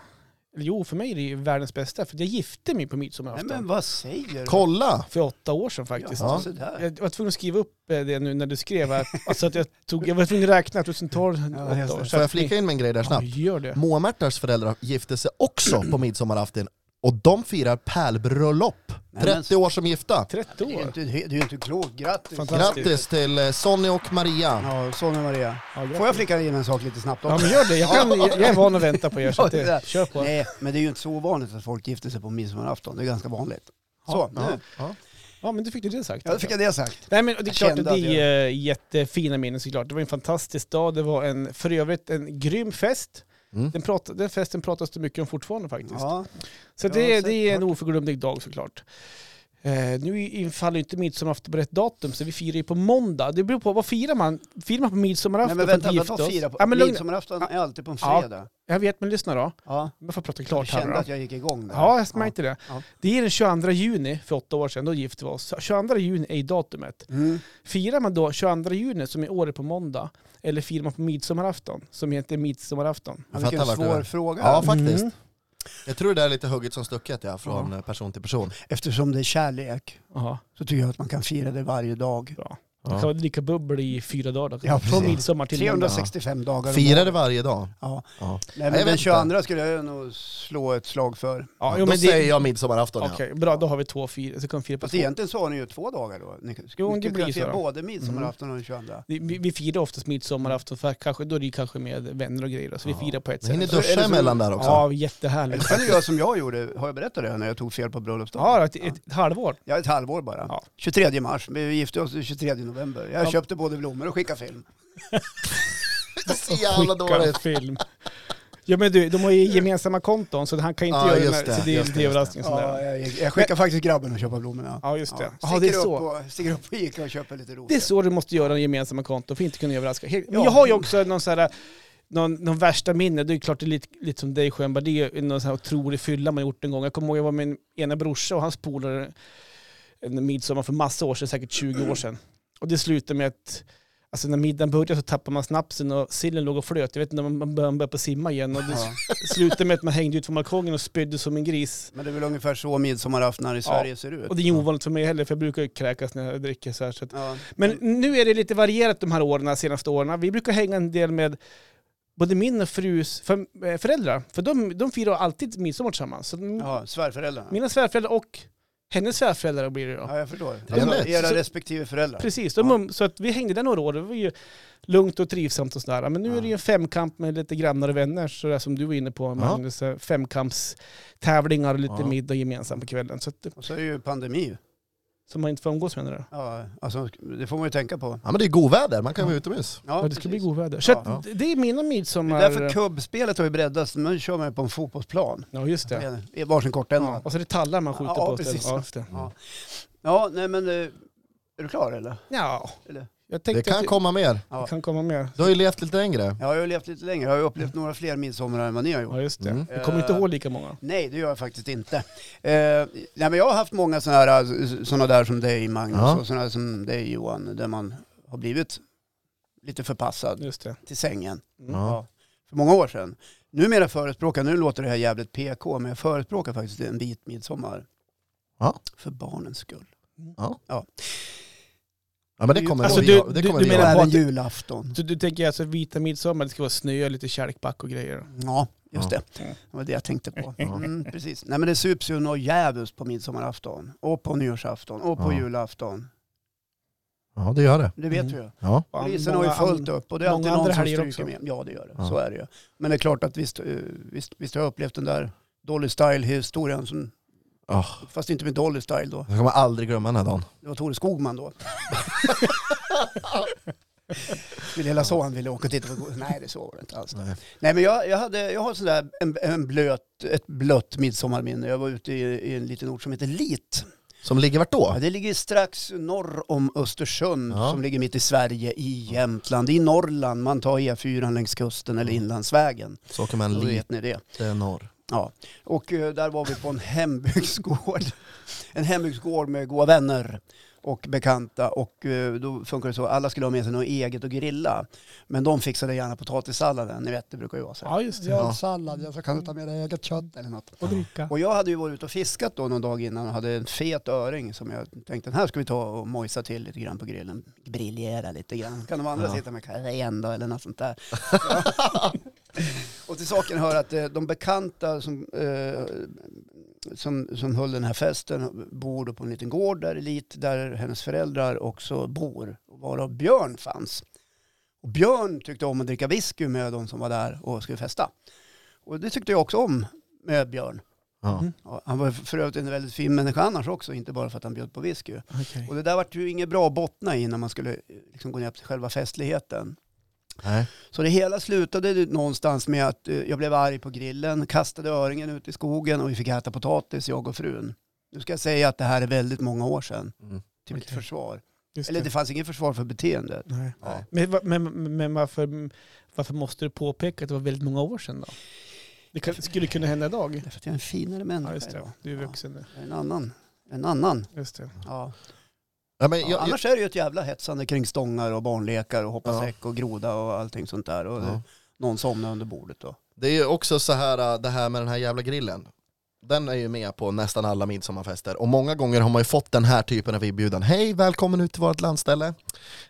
Speaker 3: eller Jo, för mig är det ju världens bästa, för jag gifte mig på
Speaker 1: Nej,
Speaker 3: midsommarafton.
Speaker 1: men vad säger du?
Speaker 2: kolla!
Speaker 3: För åtta år sedan faktiskt.
Speaker 1: Ja,
Speaker 2: Ja.
Speaker 1: så där.
Speaker 3: Jag var tvungen att skriva upp eh, det nu när du skrev. Att, alltså att jag, tog, jag var tvungen att räkna 2012,
Speaker 1: Ja, just
Speaker 3: åtta år
Speaker 1: det.
Speaker 2: Får jag flika in med en grej där
Speaker 3: Ja,
Speaker 2: snabbt?
Speaker 3: gör det.
Speaker 2: Moa-Märtas föräldrar gifte sig också på midsommarafton och de firar pärlbröllop.
Speaker 1: Nej, men-
Speaker 2: 30 år som gifta.
Speaker 3: 30
Speaker 1: Det är ju
Speaker 3: år.
Speaker 1: inte, det är ju inte klokt, grattis.
Speaker 3: Fantastiskt.
Speaker 2: Grattis till eh, Sonny och Maria.
Speaker 1: Ja, Sonja Maria.
Speaker 3: Ja, grattis.
Speaker 1: Får jag flika in en sak lite snabbt
Speaker 3: Ja
Speaker 1: också?
Speaker 3: men gör det, jag, kan, jag jag är van att vänta på er. Så att
Speaker 1: Ja, det där.
Speaker 3: det, kör på.
Speaker 1: Nej, men det är ju inte så ovanligt att folk gifter sig på midsommarafton. Det är ganska vanligt. Så,
Speaker 3: Ja,
Speaker 1: nu.
Speaker 2: Ja.
Speaker 3: Ja men du fick du det sagt.
Speaker 1: Ja, då fick jag det sagt.
Speaker 3: Nej men det är
Speaker 1: Jag
Speaker 3: klart att
Speaker 1: kände
Speaker 3: det
Speaker 1: att
Speaker 3: är eh, jättefina minnen såklart. Det var en fantastisk dag, det var en, för övrigt en grym fest.
Speaker 2: Mm.
Speaker 3: Den, prat, den festen pratas det mycket om fortfarande faktiskt.
Speaker 1: Ja,
Speaker 3: Så
Speaker 1: Ja,
Speaker 3: det,
Speaker 1: säkert.
Speaker 3: det är en oförglömlig dag såklart. Eh, nu infaller ju inte midsommarafton på rätt datum, så vi firar ju på måndag. Det beror på, vad firar man? Firar man på
Speaker 1: Nej,
Speaker 3: midsommarafton
Speaker 1: men
Speaker 3: för att
Speaker 1: vänta,
Speaker 3: gifta
Speaker 1: vadå
Speaker 3: oss?
Speaker 1: fira på?
Speaker 3: ja, men lugn,
Speaker 1: Midsommarafton är alltid på en
Speaker 3: Ja.
Speaker 1: fredag.
Speaker 3: jag vet, men lyssna då.
Speaker 1: Ja.
Speaker 3: Jag får prata
Speaker 1: Jag
Speaker 3: klart här
Speaker 1: kände
Speaker 3: då.
Speaker 1: att jag gick igång där.
Speaker 3: Ja, jag märkte det.
Speaker 1: Ja.
Speaker 3: Det är den 22 juni för åtta år sedan, då gifte vi oss. 22 juni är ju datumet.
Speaker 1: Mm.
Speaker 3: Firar man då 22 juni, som i år är på måndag, eller firar man på midsommarafton, som heter midsommarafton?
Speaker 1: Ja,
Speaker 2: Jag
Speaker 1: Vilken
Speaker 2: fattar vad du
Speaker 1: svår
Speaker 2: är.
Speaker 1: fråga.
Speaker 2: Ja, faktiskt.
Speaker 3: Mm.
Speaker 2: Jag tror det där är lite hugget som stucket ja, från eh, person till person.
Speaker 1: Eftersom det är kärlek
Speaker 3: Jaha,
Speaker 1: så tycker jag att man kan fira det varje dag.
Speaker 3: bra.
Speaker 2: Ja.
Speaker 3: Då kan man dricka bubbel i fyra dagar då.
Speaker 1: Ja,
Speaker 3: Från
Speaker 1: precis.
Speaker 3: midsommar till måndag.
Speaker 1: 365 dagar om
Speaker 2: Firar
Speaker 1: året.
Speaker 2: det varje dag.
Speaker 1: Ja.
Speaker 2: Ja.
Speaker 1: Nej,
Speaker 2: Nej, jag
Speaker 1: men den
Speaker 2: vet
Speaker 1: 22 skulle jag nog slå ett slag för.
Speaker 3: Ja,
Speaker 2: då
Speaker 3: jo, men
Speaker 2: säger
Speaker 3: det,
Speaker 2: jag midsommarafton
Speaker 3: Okej,
Speaker 2: ja.
Speaker 3: bra. Då har vi två fyra. Så kan vi fira på
Speaker 1: Fast
Speaker 3: två.
Speaker 1: egentligen så har ni ju två dagar då. Ni skulle
Speaker 3: Jo,
Speaker 1: ni
Speaker 3: det
Speaker 1: kunna
Speaker 3: blir ju så
Speaker 1: fira
Speaker 3: då.
Speaker 1: både
Speaker 2: Mm.
Speaker 1: midsommarafton och den 22.
Speaker 3: Vi, vi vi firar oftast midsommarafton, för kanske, då är det ju kanske med vänner och grejer. då, Så vi
Speaker 2: Ja.
Speaker 3: firar på ett
Speaker 2: Ni hinner
Speaker 3: sätt.
Speaker 1: Så- eller
Speaker 2: duscha
Speaker 1: så-
Speaker 2: emellan där också.
Speaker 3: Ja,
Speaker 1: Eller
Speaker 3: jättehärligt.
Speaker 1: kan du göra som jag gjorde, har jag berättat det, när jag tog fel på bröllopsdagen?
Speaker 3: Ja, ett, ett, ett halvår.
Speaker 1: Ja, ett halvår bara.
Speaker 3: Ja.
Speaker 1: 23 mars, vi gifte oss den 23 november. Jag
Speaker 3: Ja.
Speaker 1: köpte både blommor och skickade film.
Speaker 2: Det är så jävla
Speaker 3: Skicka
Speaker 2: dåligt.
Speaker 3: film. Ja men du, de har ju gemensamma konton så han kan inte
Speaker 2: Ja,
Speaker 3: göra
Speaker 2: just
Speaker 3: den
Speaker 2: det,
Speaker 3: här, så det är
Speaker 2: just det,
Speaker 3: lite
Speaker 2: just
Speaker 3: överraskning. sådär.
Speaker 1: Ja, jag, jag skickade faktiskt grabben och köpa blommorna.
Speaker 3: Ja just det. Ja,
Speaker 1: Sticker,
Speaker 3: det är
Speaker 1: upp
Speaker 3: så.
Speaker 1: På, sticker upp på Ica och köper lite rosor.
Speaker 3: Det är så du måste göra med gemensamma konton för att inte kunna överraska. Helt- Men
Speaker 1: Ja.
Speaker 3: jag har ju också någon sån här, någon, någon värsta minne, det är klart det är lite, lite som dig Schönberg, det är ju någon sån här otrolig fylla man gjort en gång. Jag kommer ihåg jag var med min ena brorsa och hans polare en midsommar för massa år sedan, säkert 20 år sedan. Och det slutade med att Alltså när middagen började så tappade man snapsen och sillen låg och flöt. Jag vet inte, man man började på simma igen och det
Speaker 1: Ja.
Speaker 3: slutade med att man hängde ut från balkongen och spydde som en gris.
Speaker 1: Men det är väl ungefär så midsommarafton i Sverige ser ut.
Speaker 3: Och det är ju ovanligt för mig heller, för jag brukar ju kräkas när jag dricker så här. Så att.
Speaker 1: Ja.
Speaker 3: Men nu är det lite varierat de här åren, de senaste åren. Vi brukar hänga en del med både min och frus för, eh, föräldrar, för de, de firar alltid midsommar tillsammans. Så m-
Speaker 1: ja, svärföräldrarna.
Speaker 3: Mina svärföräldrar och hennes svärföräldrar blir det då.
Speaker 1: Ja, jag förstår.
Speaker 2: Trevligt.
Speaker 1: Alltså, era
Speaker 3: Så-
Speaker 1: respektive föräldrar.
Speaker 3: Precis, de,
Speaker 1: Ja.
Speaker 3: um- så att vi hängde där några år. Det var ju lugnt och trivsamt och sådär. Men nu är det ju en femkamp med lite grannar och vänner, så där som du var inne på Magnus. eh, Femkampstävlingar och lite
Speaker 2: Ja.
Speaker 3: middag gemensamt på kvällen. Så att,
Speaker 1: Och så är det ju pandemi.
Speaker 3: som man inte får umgås med. Det, där.
Speaker 1: Ja, alltså, det får man ju tänka på.
Speaker 2: Ja men det är god väder, man kan vara utomhus.
Speaker 3: Ja, det
Speaker 1: precis.
Speaker 3: ska bli godväder. Så
Speaker 1: Ja.
Speaker 3: att, det- det är mina midsommar...
Speaker 1: Det är därför kubbspelet har ju breddats. Nu kör man ju på en fotbollsplan.
Speaker 3: Ja, just det.
Speaker 1: I varsin kortända.
Speaker 3: Och så är det tallar man skjuter
Speaker 1: Ja,
Speaker 3: på.
Speaker 1: precis.
Speaker 3: istället. Ja, just det.
Speaker 1: Ja. ja, nej men... eh, Är du klar eller?
Speaker 3: Ja,
Speaker 1: eller?
Speaker 3: jag
Speaker 2: Det
Speaker 3: tänkte
Speaker 2: kan
Speaker 3: att
Speaker 2: komma mer.
Speaker 3: det Mm. kan komma mer.
Speaker 2: Du har ju levt lite längre.
Speaker 1: Jag har ju levt lite längre. Jag har ju upplevt några fler midsommar än vad ni har gjort.
Speaker 3: Ja, just det.
Speaker 2: Mm.
Speaker 3: Jag kommer
Speaker 1: Eh.
Speaker 3: inte ihåg lika många.
Speaker 1: Nej, det gör jag faktiskt inte. Eh, nej, men jag har haft många sådana här, alltså, såna där som dig Magnus
Speaker 2: Ja.
Speaker 1: och sådana som dig Johan, där man har blivit lite förpassad
Speaker 3: Just det.
Speaker 1: till sängen.
Speaker 3: Mm.
Speaker 2: Ja.
Speaker 1: För många år sedan. Numera förespråkar, nu låter det här jävligt PK, men jag förespråkar faktiskt en bit midsommar.
Speaker 2: Ja.
Speaker 1: För barnens skull.
Speaker 2: Ja. Ja, men det kommer
Speaker 3: Alltså,
Speaker 2: vi,
Speaker 3: du-
Speaker 2: ha- det
Speaker 3: du-
Speaker 2: kommer
Speaker 3: du
Speaker 2: vi
Speaker 1: Och
Speaker 3: menar
Speaker 2: ha.
Speaker 3: på
Speaker 1: även
Speaker 3: att-
Speaker 1: julafton.
Speaker 3: Så du tänker alltså vita midsommar, det ska vara snö, lite kärlekback och grejer?
Speaker 1: Ja, just
Speaker 2: Ja.
Speaker 1: det. Det var det jag tänkte på. Mm, precis. Nej men det sups ju något djävulskt på midsommarafton. Och på nyårsafton. Och på
Speaker 2: Ja.
Speaker 1: julafton.
Speaker 2: Ja, det gör det.
Speaker 1: Det vet
Speaker 3: Mm.
Speaker 1: vi ju.
Speaker 2: Ja.
Speaker 3: Fan,
Speaker 1: Polisen har ju
Speaker 3: många
Speaker 1: fullt upp och det är
Speaker 3: många
Speaker 1: alltid
Speaker 3: andra
Speaker 1: någon som
Speaker 3: helger
Speaker 1: stryker
Speaker 3: också.
Speaker 1: med. Ja det gör det,
Speaker 2: Ja.
Speaker 1: så är det ju. Men det är klart att visst, eh, visst, visst har jag upplevt den där Dolly Style-historien, som,
Speaker 2: Ah,
Speaker 1: fast inte med Dolly Style då.
Speaker 2: jag kommer aldrig glömma den här dagen.
Speaker 1: Det var Tore Skogman då. Min lilla son ville åka och titta på Nej, det så var det inte alls.
Speaker 2: Nej.
Speaker 1: Nej, men jag, jag, hade, jag har sådär en, en blöt, ett blött midsommarminne. Jag var ute i, i en liten ort som heter Lit.
Speaker 2: Som ligger vart
Speaker 1: Ja,
Speaker 2: då?
Speaker 1: det ligger strax norr om Östersund
Speaker 2: Ja.
Speaker 1: som ligger mitt i Sverige, i Jämtland, i Norrland. Man tar E4 längs kusten eller inlandsvägen.
Speaker 2: Så åker man
Speaker 1: Då vet
Speaker 2: lite
Speaker 1: ni det.
Speaker 2: norr.
Speaker 1: Ja. Och eh, där var vi på en hembygdsgård. En hembygdsgård med goda vänner och bekanta. Och eh, då funkar det så. Alla skulle ha med sig något eget att grilla. Men de fixade gärna potatissalladen. Ni vet, det brukar ju vara så. här.
Speaker 3: Ja, just det.
Speaker 2: Ja.
Speaker 1: sallad, jag kan du ta med dig eget kött eller något.
Speaker 3: Och dricka.
Speaker 1: Och jag hade ju varit ute och fiskat då någon dag innan och hade en fet öring som jag tänkte den här ska vi ta och mojsa till lite grann på grillen. Briljera lite grann. Kan de andra
Speaker 2: Ja.
Speaker 1: sitta med cayenne då eller något sånt där. och till saken hör att eh, de bekanta som, eh, som, som höll den här festen bor då på en liten gård där elit där hennes föräldrar också bor. Varav Björn fanns. Och Björn tyckte om att dricka whisky med de som var där och skulle festa. Och det tyckte jag också om med Björn.
Speaker 2: Ja.
Speaker 3: Mm.
Speaker 1: Ja, han var för övrigt en väldigt fin människa annars också, inte bara för att han bjöd på whisky.
Speaker 3: Okej.
Speaker 1: Och det där var ju inget bra att bottna i när man skulle eh, liksom gå ner till själva festligheten.
Speaker 2: Nej.
Speaker 1: Så det hela slutade ju någonstans med att eh, jag blev arg på grillen, kastade öringen ut i skogen och vi fick äta potatis, jag och frun. Nu ska jag säga att det här är väldigt många år sedan,
Speaker 2: Mm.
Speaker 1: till mitt
Speaker 3: Okej.
Speaker 1: försvar.
Speaker 3: Just
Speaker 1: Eller det fanns ingen försvar för beteendet.
Speaker 3: Nej.
Speaker 2: Ja.
Speaker 3: Men, va- men, men varför, varför måste du påpeka att det var väldigt många år sedan då? Det kan, skulle kunna hända idag.
Speaker 1: Därför att jag är en finare människa
Speaker 3: Ja, just
Speaker 1: idag.
Speaker 3: det. Du är vuxen nu.
Speaker 1: Jag är en annan. En annan.
Speaker 3: Just det.
Speaker 1: Ja.
Speaker 2: Ja, men
Speaker 1: Ja,
Speaker 2: jag, jag,
Speaker 1: annars är det ju ett jävla hetsande kring stångar och barnlekar och hoppa
Speaker 2: Ja.
Speaker 1: säck och groda och allting sånt där. Och
Speaker 2: ja.
Speaker 1: Någon somnar under bordet då.
Speaker 2: Det är ju också så här, äh, det här med den här jävla grillen. Den är ju med på nästan alla midsommarfester och många gånger har man ju fått den här typen av inbjudan. Hej, välkommen ut till vårt landställe.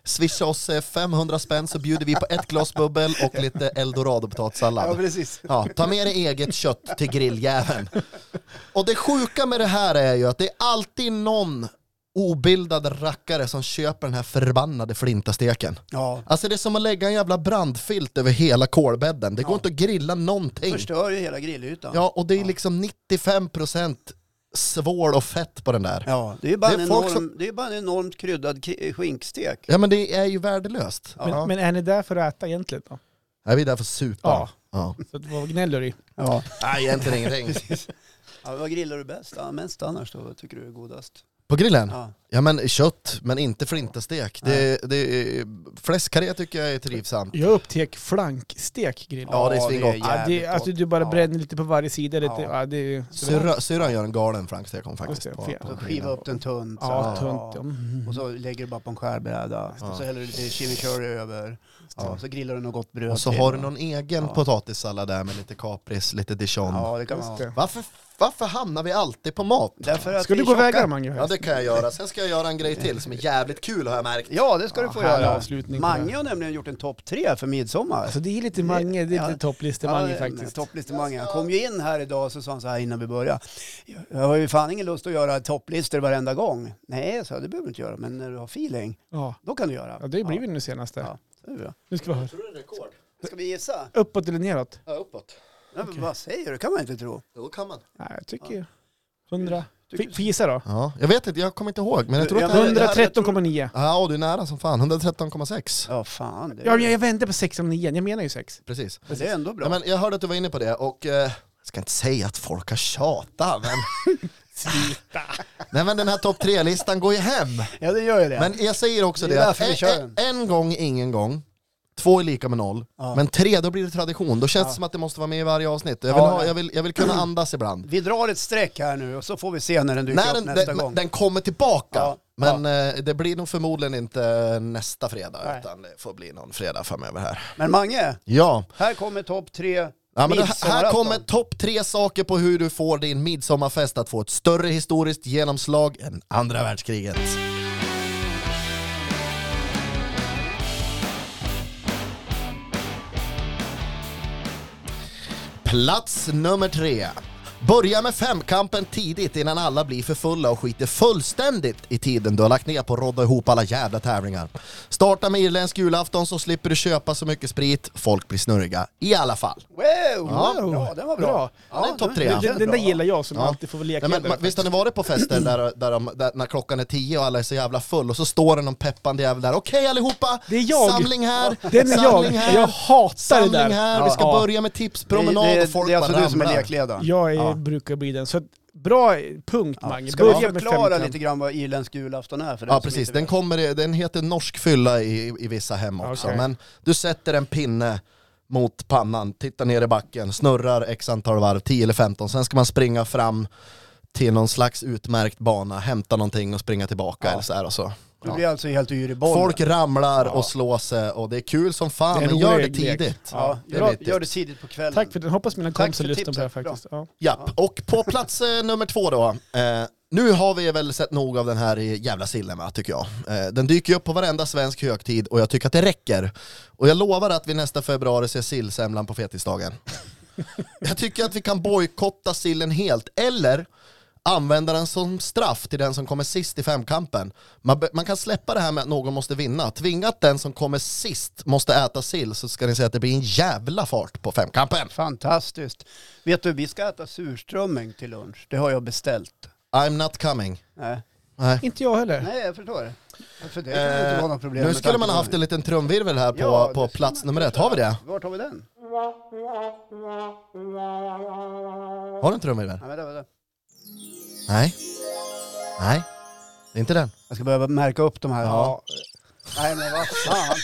Speaker 2: Swisha oss eh, 500 spänn så bjuder vi på ett glas bubbel och lite eldorado-potatissallad.
Speaker 1: precis.
Speaker 2: Ja, ta med dig eget kött till grilljäveln. Och det sjuka med det här är ju att det är alltid någon obildad rackare som köper den här förbannade flintasteken.
Speaker 1: Ja,
Speaker 2: Alltså det är som att lägga en jävla brandfilt över hela kolbädden. Det går
Speaker 1: Ja.
Speaker 2: inte att grilla någonting.
Speaker 1: förstör ju hela grillytan.
Speaker 2: Ja, och det är liksom 95% svål och fett på den där.
Speaker 1: Ja, det är ju bara,
Speaker 2: Det är
Speaker 1: en
Speaker 2: folk
Speaker 1: enorm,
Speaker 2: som-
Speaker 1: det är bara en enormt kryddad kri- skinkstek.
Speaker 2: Ja men det är ju värdelöst.
Speaker 1: Ja.
Speaker 3: Men, men är ni där för att äta egentligen då?
Speaker 2: Är vi där för att supa?
Speaker 3: Ja.
Speaker 2: ja.
Speaker 3: Så att vad gnäller du i?
Speaker 1: Ja.
Speaker 2: Nej, egentligen ingenting.
Speaker 1: ja, vad grillar du bäst? Ja, mest annars då? Vad tycker du är godast?
Speaker 2: På grillen? Ja.
Speaker 1: Ja.
Speaker 2: men kött, men inte flintastek. Det, det, fläskkarré tycker jag är trivsamt.
Speaker 3: Jag upptäck flankstek grill.
Speaker 2: Ja, det är svingott.
Speaker 3: Ja, det,
Speaker 1: jävligt
Speaker 3: alltså
Speaker 1: gott.
Speaker 3: du bara
Speaker 1: Ja.
Speaker 3: bränner lite på varje sida. Lite,
Speaker 1: Ja.
Speaker 3: ja. det,
Speaker 2: Syrra- Syrran gör en galen flankstekom
Speaker 3: Just
Speaker 2: faktiskt.
Speaker 3: det,
Speaker 2: På,
Speaker 3: fel.
Speaker 2: på
Speaker 1: Så skiva
Speaker 2: grillen.
Speaker 1: upp den tunt. så
Speaker 3: ja,
Speaker 1: här.
Speaker 3: tunt. Ja.
Speaker 1: Ja.
Speaker 3: Mm.
Speaker 1: Och så lägger du bara på en skärbräda.
Speaker 2: Ja.
Speaker 1: Och så häller du lite chimichurri över. Ja, så grillar du något gott bröd
Speaker 2: Och så
Speaker 1: till.
Speaker 2: har du någon egen
Speaker 1: Ja.
Speaker 2: potatissallad där med lite kapris, lite dijon.
Speaker 1: Ja, det kan man
Speaker 3: Mm, Just
Speaker 1: ha.
Speaker 3: det.
Speaker 2: Varför, varför hamnar vi alltid på mat?
Speaker 1: Därför att
Speaker 3: Ska
Speaker 1: vi
Speaker 3: du gå
Speaker 1: är tjocka.
Speaker 3: vägar Mange?
Speaker 2: Ja det kan jag göra, sen ska jag göra en grej till som är jävligt kul har jag märkt.
Speaker 1: Ja, det ska du få
Speaker 3: härlig
Speaker 1: göra.
Speaker 3: avslutning på det
Speaker 1: Mange
Speaker 3: här.
Speaker 1: har nämligen gjort en topp tre för midsommar.
Speaker 3: Alltså det är lite Mange, det är
Speaker 1: Ja.
Speaker 3: lite topplistemang faktiskt.
Speaker 1: Topplistemang. Han kom ju in här idag och så sa han så här innan vi började. "Jag- Jag har ju fan ingen lust att göra topplistor varenda gång. Nej, så det behöver du inte göra, men när du har feeling,
Speaker 3: Ja.
Speaker 1: då kan du göra.
Speaker 3: ja, det blir vi nu senaste.
Speaker 1: Ja. Så är det bra.
Speaker 3: Nu ska vi höra.
Speaker 2: Tror du det är rekord?
Speaker 1: Ska vi gissa?
Speaker 3: Uppåt eller neråt?
Speaker 2: Ja, uppåt.
Speaker 1: Ja, men Vad säger du? Det kan man inte tro.
Speaker 2: Då kan man.
Speaker 3: Nej, jag tycker 100.
Speaker 1: Tycker-
Speaker 3: F- får gissa då?
Speaker 2: Ja, jag vet inte, jag kommer inte ihåg, men jag tror
Speaker 1: Ja,
Speaker 2: att
Speaker 1: men-
Speaker 2: det är...
Speaker 3: 113,9.
Speaker 2: Ja, du är nära som fan. 113,6.
Speaker 1: Ja, fan. Det,
Speaker 3: Ja, men jag vände på 6 och 9, jag menar ju 6.
Speaker 2: Precis.
Speaker 1: det är ändå bra.
Speaker 2: Ja, men jag hörde att du var inne på det och... Eh, jag ska inte säga att folk har tjatat, men... Nej men den här topp tre-listan går ju hem.
Speaker 1: ja, det gör ju det.
Speaker 2: Men jag säger också
Speaker 1: Det är
Speaker 2: det, att
Speaker 1: därför vi kör
Speaker 2: en, en gång, ingen gång. Två är lika med noll.
Speaker 1: Ja.
Speaker 2: Men tre, då blir det tradition. Då känns det som att det måste vara med i varje avsnitt. Jag vill,
Speaker 1: Ja,
Speaker 2: ha,
Speaker 1: nej.
Speaker 2: jag vill, jag vill kunna andas ibland.
Speaker 1: Vi drar ett streck här nu och så får vi se när den dyker
Speaker 2: När
Speaker 1: upp
Speaker 2: den,
Speaker 1: nästa
Speaker 2: den,
Speaker 1: gång.
Speaker 2: den kommer tillbaka.
Speaker 1: Ja,
Speaker 2: Men eh, det blir nog förmodligen inte nästa fredag
Speaker 1: Nej.
Speaker 2: utan det får bli någon fredag framöver här.
Speaker 1: Men Mange,
Speaker 2: Ja,
Speaker 1: här kommer topp tre
Speaker 2: ja men det, här
Speaker 1: midsommarafton.
Speaker 2: kommer topp tre saker på hur du får din midsommarfest att få ett större historiskt genomslag än andra världskriget. Plats nummer tre. Börja med femkampen tidigt innan alla blir för fulla och skiter fullständigt i tiden du har lagt ner på att rodda ihop alla jävla tävlingar. Starta med irländsk julafton så slipper du köpa så mycket sprit, folk blir snurriga. I alla fall.
Speaker 1: Wow! Bra, den var bra.
Speaker 3: Bra.
Speaker 2: Ja, det är en topp tre.
Speaker 1: den-
Speaker 2: Ja.
Speaker 3: Den, den där gillar jag som
Speaker 2: Ja.
Speaker 3: alltid får vara
Speaker 2: Nej, men,
Speaker 3: lekledare.
Speaker 2: ma- visst har ni varit på fester där, där, de, där när klockan är tio och alla är så jävla full och så står det någon peppande jävel där. Okej allihopa!
Speaker 3: Det är jag.
Speaker 2: Samling här!
Speaker 3: den är jag.
Speaker 2: samling här!
Speaker 3: Jag hatar det
Speaker 2: samling
Speaker 3: där.
Speaker 2: här! Vi ska
Speaker 3: Ja.
Speaker 2: börja med tipspromenad
Speaker 1: Det, det,
Speaker 2: och folk
Speaker 1: det är alltså
Speaker 2: bara
Speaker 1: du som är
Speaker 2: ramlar.
Speaker 1: lekledaren.
Speaker 3: Jag är,
Speaker 1: Ja.
Speaker 3: brukar bli den. Så att, bra punkt Mange.
Speaker 1: Ska vi
Speaker 3: Börja med
Speaker 1: förklara
Speaker 3: femkamp.
Speaker 1: lite grann vad irländsk julafton är? För den
Speaker 2: Ja
Speaker 1: som
Speaker 2: precis,
Speaker 1: inte
Speaker 2: den,
Speaker 1: vet?
Speaker 2: kommer, i- den heter norsk fylla i, i vissa hem också.
Speaker 3: Okej.
Speaker 2: Men du sätter en pinne mot pannan, tittar ner i backen, snurrar x antal varv, 10 eller 15, sen ska man springa fram till någon slags utmärkt bana, hämta någonting och springa tillbaka eller så här och så.
Speaker 1: Du
Speaker 2: Ja.
Speaker 1: blir alltså helt yr i bollen.
Speaker 2: Folk ramlar och slår sig och det är kul som fan,
Speaker 3: Det är en
Speaker 2: men gör det
Speaker 3: rolig lek.
Speaker 2: tidigt.
Speaker 1: ja,
Speaker 2: det är
Speaker 1: gör,
Speaker 2: viktigt.
Speaker 1: gör det tidigt på kvällen.
Speaker 3: Tack för den. Hoppas mina
Speaker 1: Tack
Speaker 3: kompisar
Speaker 1: för
Speaker 3: lyssnar på det här
Speaker 1: tipset.
Speaker 3: faktiskt. Ja.
Speaker 2: Japp, och på plats eh, nummer två då. Eh, nu har vi väl sett nog av den här jävla sillen va, tycker jag. Eh, den dyker ju upp på varenda svensk högtid och jag tycker att det räcker. Och jag lovar att vi nästa februari ser sillsemlan på fetisdagen. jag tycker att vi kan bojkotta sillen helt, eller använda den som straff till den som kommer sist i femkampen. Man, be- man kan släppa det här med att någon måste vinna. Tvinga att den som kommer sist måste äta sill så ska ni se att det blir en jävla fart på femkampen.
Speaker 1: Fantastiskt. Vet du, vi ska äta surströmming till lunch. Det har jag beställt.
Speaker 2: I'm not coming.
Speaker 1: Nej,
Speaker 2: Nej.
Speaker 3: Inte jag heller.
Speaker 1: Nej jag förstår det. För det kan ju inte
Speaker 2: Eh,
Speaker 1: vara något problem.
Speaker 2: Nu
Speaker 1: med
Speaker 2: skulle man
Speaker 1: tanke
Speaker 2: ha
Speaker 1: på-
Speaker 2: haft en liten trumvirvel här på,
Speaker 1: Ja, det
Speaker 2: på
Speaker 1: skulle
Speaker 2: plats
Speaker 1: man
Speaker 2: nummer ett.
Speaker 1: kanske
Speaker 2: Har vi det?
Speaker 1: Vart har vi den?
Speaker 2: Har du en trumvirvel?
Speaker 1: Nej, vänta, vänta.
Speaker 2: Nej. Nej. Det är inte den.
Speaker 1: Jag ska behöva märka upp de här.
Speaker 2: Ja.
Speaker 1: Nej men vad fan.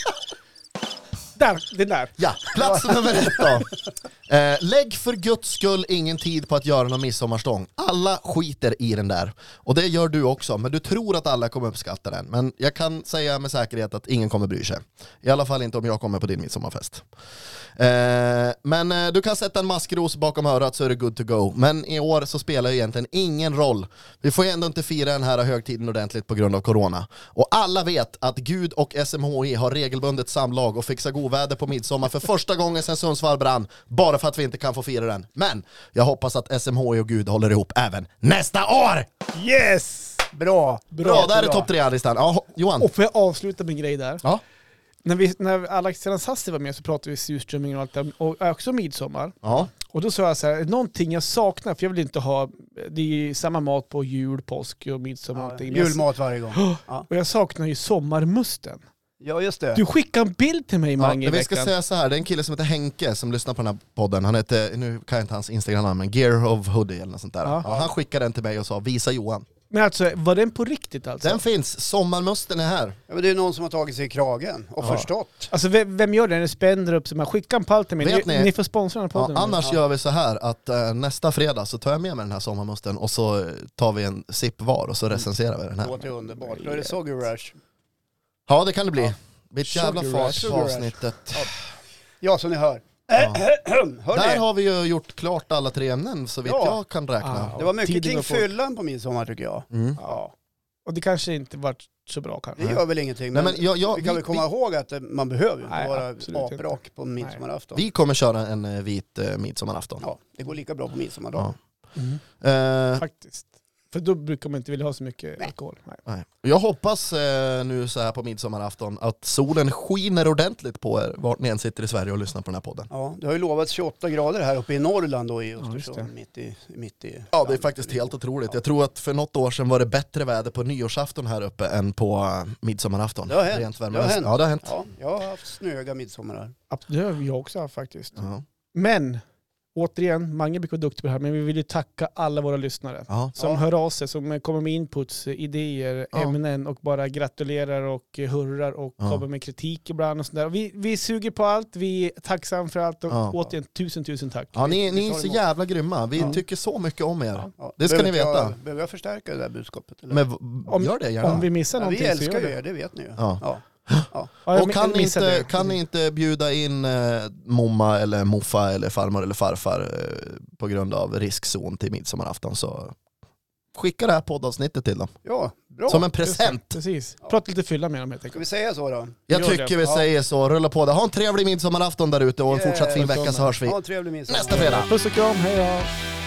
Speaker 3: Där, den där.
Speaker 2: Ja, plats nummer ett då. Eh, lägg för guds skull ingen tid på att göra någon midsommarstång. Alla skiter i den där. Och det gör du också, men du tror att alla kommer uppskatta den. Men jag kan säga med säkerhet att ingen kommer bry sig. I alla fall inte om jag kommer på din midsommarfest. Eh, men eh, du kan sätta en maskros bakom örat så är det good to go. Men i år så spelar det egentligen ingen roll. Vi får ju ändå inte fira den här högtiden ordentligt på grund av corona. Och alla vet att Gud och SMHI har regelbundet samlag och fixar godväder på midsommar för första gången sedan Sundsvall brann. Bara för att vi inte kan få fira den. Men jag hoppas att SMHI och Gud håller ihop även nästa år!
Speaker 3: Yes!
Speaker 1: Bra.
Speaker 2: Bra, där är
Speaker 1: bra.
Speaker 2: topp tre-listan. Ja, ho- Johan?
Speaker 3: Och får jag avsluta med en grej där?
Speaker 2: Ja.
Speaker 3: När, vi, när Alexander Sassi var med så pratade vi surströmming och allt det där, och också midsommar.
Speaker 2: Ja.
Speaker 3: Och då sa jag så här, någonting jag saknar, för jag vill inte ha, det är ju samma mat på jul, påsk och midsommar. och
Speaker 1: Ja,
Speaker 3: allting. Men jag-
Speaker 1: julmat varje gång. Ja.
Speaker 3: Och jag saknar ju sommarmusten.
Speaker 1: ja just det.
Speaker 3: Du skickade en bild till mig Mange
Speaker 2: Ja,
Speaker 3: i
Speaker 2: vi ska
Speaker 3: veckan.
Speaker 2: säga så här, det är en kille som heter Henke som lyssnar på den här podden. Han heter, nu kan jag inte hans Instagram-namn, men Gear of Hoodie eller något sånt där.
Speaker 3: Ja.
Speaker 2: Ja, han skickade den till mig och sa visa Johan.
Speaker 3: Men alltså, var den på riktigt alltså?
Speaker 2: Den finns, sommarmusten är här.
Speaker 1: Ja, men det är någon som har tagit sig i kragen och förstått.
Speaker 3: Alltså vem, vem gör den? Spänner upp sig, man skickar en pall till mig.
Speaker 2: Vet
Speaker 3: ni,
Speaker 2: ni-
Speaker 3: ni får sponsra den här
Speaker 2: Ja,
Speaker 3: podden.
Speaker 2: annars gör vi så här att eh, nästa fredag så tar jag med mig den här sommarmusten och så eh, tar vi en sipp var och så recenserar vi den
Speaker 1: Det
Speaker 2: här.
Speaker 1: låter underbart. Då är det Soggy Rush.
Speaker 2: Ja det kan det bli. Det blir ett
Speaker 3: Sugar
Speaker 2: jävla
Speaker 3: rush.
Speaker 2: fart på
Speaker 1: Sugar rush.
Speaker 2: avsnittet.
Speaker 1: Ja, som ni hör.
Speaker 2: Där
Speaker 1: Hörni,
Speaker 2: har vi ju gjort klart alla tre ämnen så vitt
Speaker 1: Ja.
Speaker 2: jag kan räkna.
Speaker 3: Ah.
Speaker 1: det var mycket
Speaker 3: Tiden
Speaker 1: kring
Speaker 3: går fort.
Speaker 1: fyllan på midsommar tycker jag.
Speaker 2: Mm.
Speaker 1: Ja.
Speaker 3: Och det kanske inte varit så bra kanske.
Speaker 1: Det gör väl ingenting.
Speaker 2: Nej,
Speaker 1: Men
Speaker 2: men jag, jag,
Speaker 1: vi kan väl komma ihåg att eh, man behöver ju inte
Speaker 3: Nej,
Speaker 1: vara
Speaker 3: absolut inte.
Speaker 1: aprak på midsommarafton.
Speaker 2: vi, vi kommer köra en eh, vit eh, midsommarafton.
Speaker 1: Ja, det går lika bra på midsommardagen.
Speaker 2: Ja.
Speaker 3: Mm.
Speaker 2: Eh,
Speaker 3: Faktiskt. För då brukar man inte vilja ha så mycket alkohol. Nej.
Speaker 2: Nej. Jag hoppas eh, nu så här på midsommarafton att solen skiner ordentligt på er vart ni än sitter i Sverige och lyssnar på den här podden.
Speaker 1: Ja, det har ju lovats 28 grader här uppe i Norrland och i
Speaker 3: Ja, just
Speaker 1: Östersund, mitt i... Mitt i
Speaker 2: Ja det är faktiskt helt otroligt. Jag tror att för något år sedan var det bättre väder på nyårsafton här uppe än på eh, midsommarafton.
Speaker 1: Det har hänt.
Speaker 2: Rent
Speaker 1: Det har
Speaker 2: värmemässigt.
Speaker 1: hänt.
Speaker 2: Ja det har hänt.
Speaker 1: Ja, jag har haft snöga midsommarar.
Speaker 3: Ab- Det har jag också haft faktiskt.
Speaker 2: Ja.
Speaker 3: Men, återigen, Mange brukar vara duktig på det här, men vi vill ju tacka alla våra lyssnare.
Speaker 2: Ja.
Speaker 3: Som
Speaker 1: Ja.
Speaker 3: hör av sig, som kommer med inputs, idéer,
Speaker 2: Ja.
Speaker 3: ämnen och bara gratulerar och hurrar och
Speaker 2: Ja.
Speaker 3: kommer med kritik ibland och sådär. Vi, vi suger på allt, vi är tacksamma för allt och
Speaker 2: Ja.
Speaker 3: återigen tusen tusen tack.
Speaker 2: Ja, ni, ni är
Speaker 1: Vi tar
Speaker 2: så
Speaker 1: emot.
Speaker 2: jävla grymma. Vi
Speaker 3: Ja.
Speaker 2: tycker så mycket om er.
Speaker 1: Ja.
Speaker 2: Det ska
Speaker 1: Behöver
Speaker 2: ni
Speaker 1: inte
Speaker 2: veta.
Speaker 1: Jag, behöver jag förstärka det där budskapet? Eller?
Speaker 2: Men v-
Speaker 3: Om-
Speaker 2: gör det gärna.
Speaker 3: Om vi missar
Speaker 1: ja, vi
Speaker 3: någonting så
Speaker 1: älskar
Speaker 3: gör
Speaker 1: ju
Speaker 3: vi.
Speaker 1: er, det vet ni ju.
Speaker 2: Ja.
Speaker 1: Ja.
Speaker 3: Ja, jag
Speaker 2: och
Speaker 3: mi-
Speaker 2: kan ni,
Speaker 3: missade
Speaker 2: inte,
Speaker 3: det.
Speaker 2: kan ni inte bjuda in eh, momma eller moffa eller farmor eller farfar eh, på grund av riskzon till midsommarafton så skicka det här poddavsnittet till dem.
Speaker 1: Ja, bra.
Speaker 2: Som en
Speaker 3: Just det,
Speaker 2: present.
Speaker 3: Precis. Prata lite fylla med dem helt
Speaker 1: Ska
Speaker 3: enkelt.
Speaker 1: vi säga så då?
Speaker 2: Jag
Speaker 3: Gör
Speaker 2: tycker
Speaker 3: det.
Speaker 2: vi
Speaker 1: Ja.
Speaker 2: säger så, rulla på det. Ha en trevlig midsommarafton där ute och en
Speaker 1: Yeah.
Speaker 2: fortsatt fin vecka så hörs vi
Speaker 1: Ha en trevlig midsommar.
Speaker 2: nästa fredag.
Speaker 3: Puss och kram, hej då!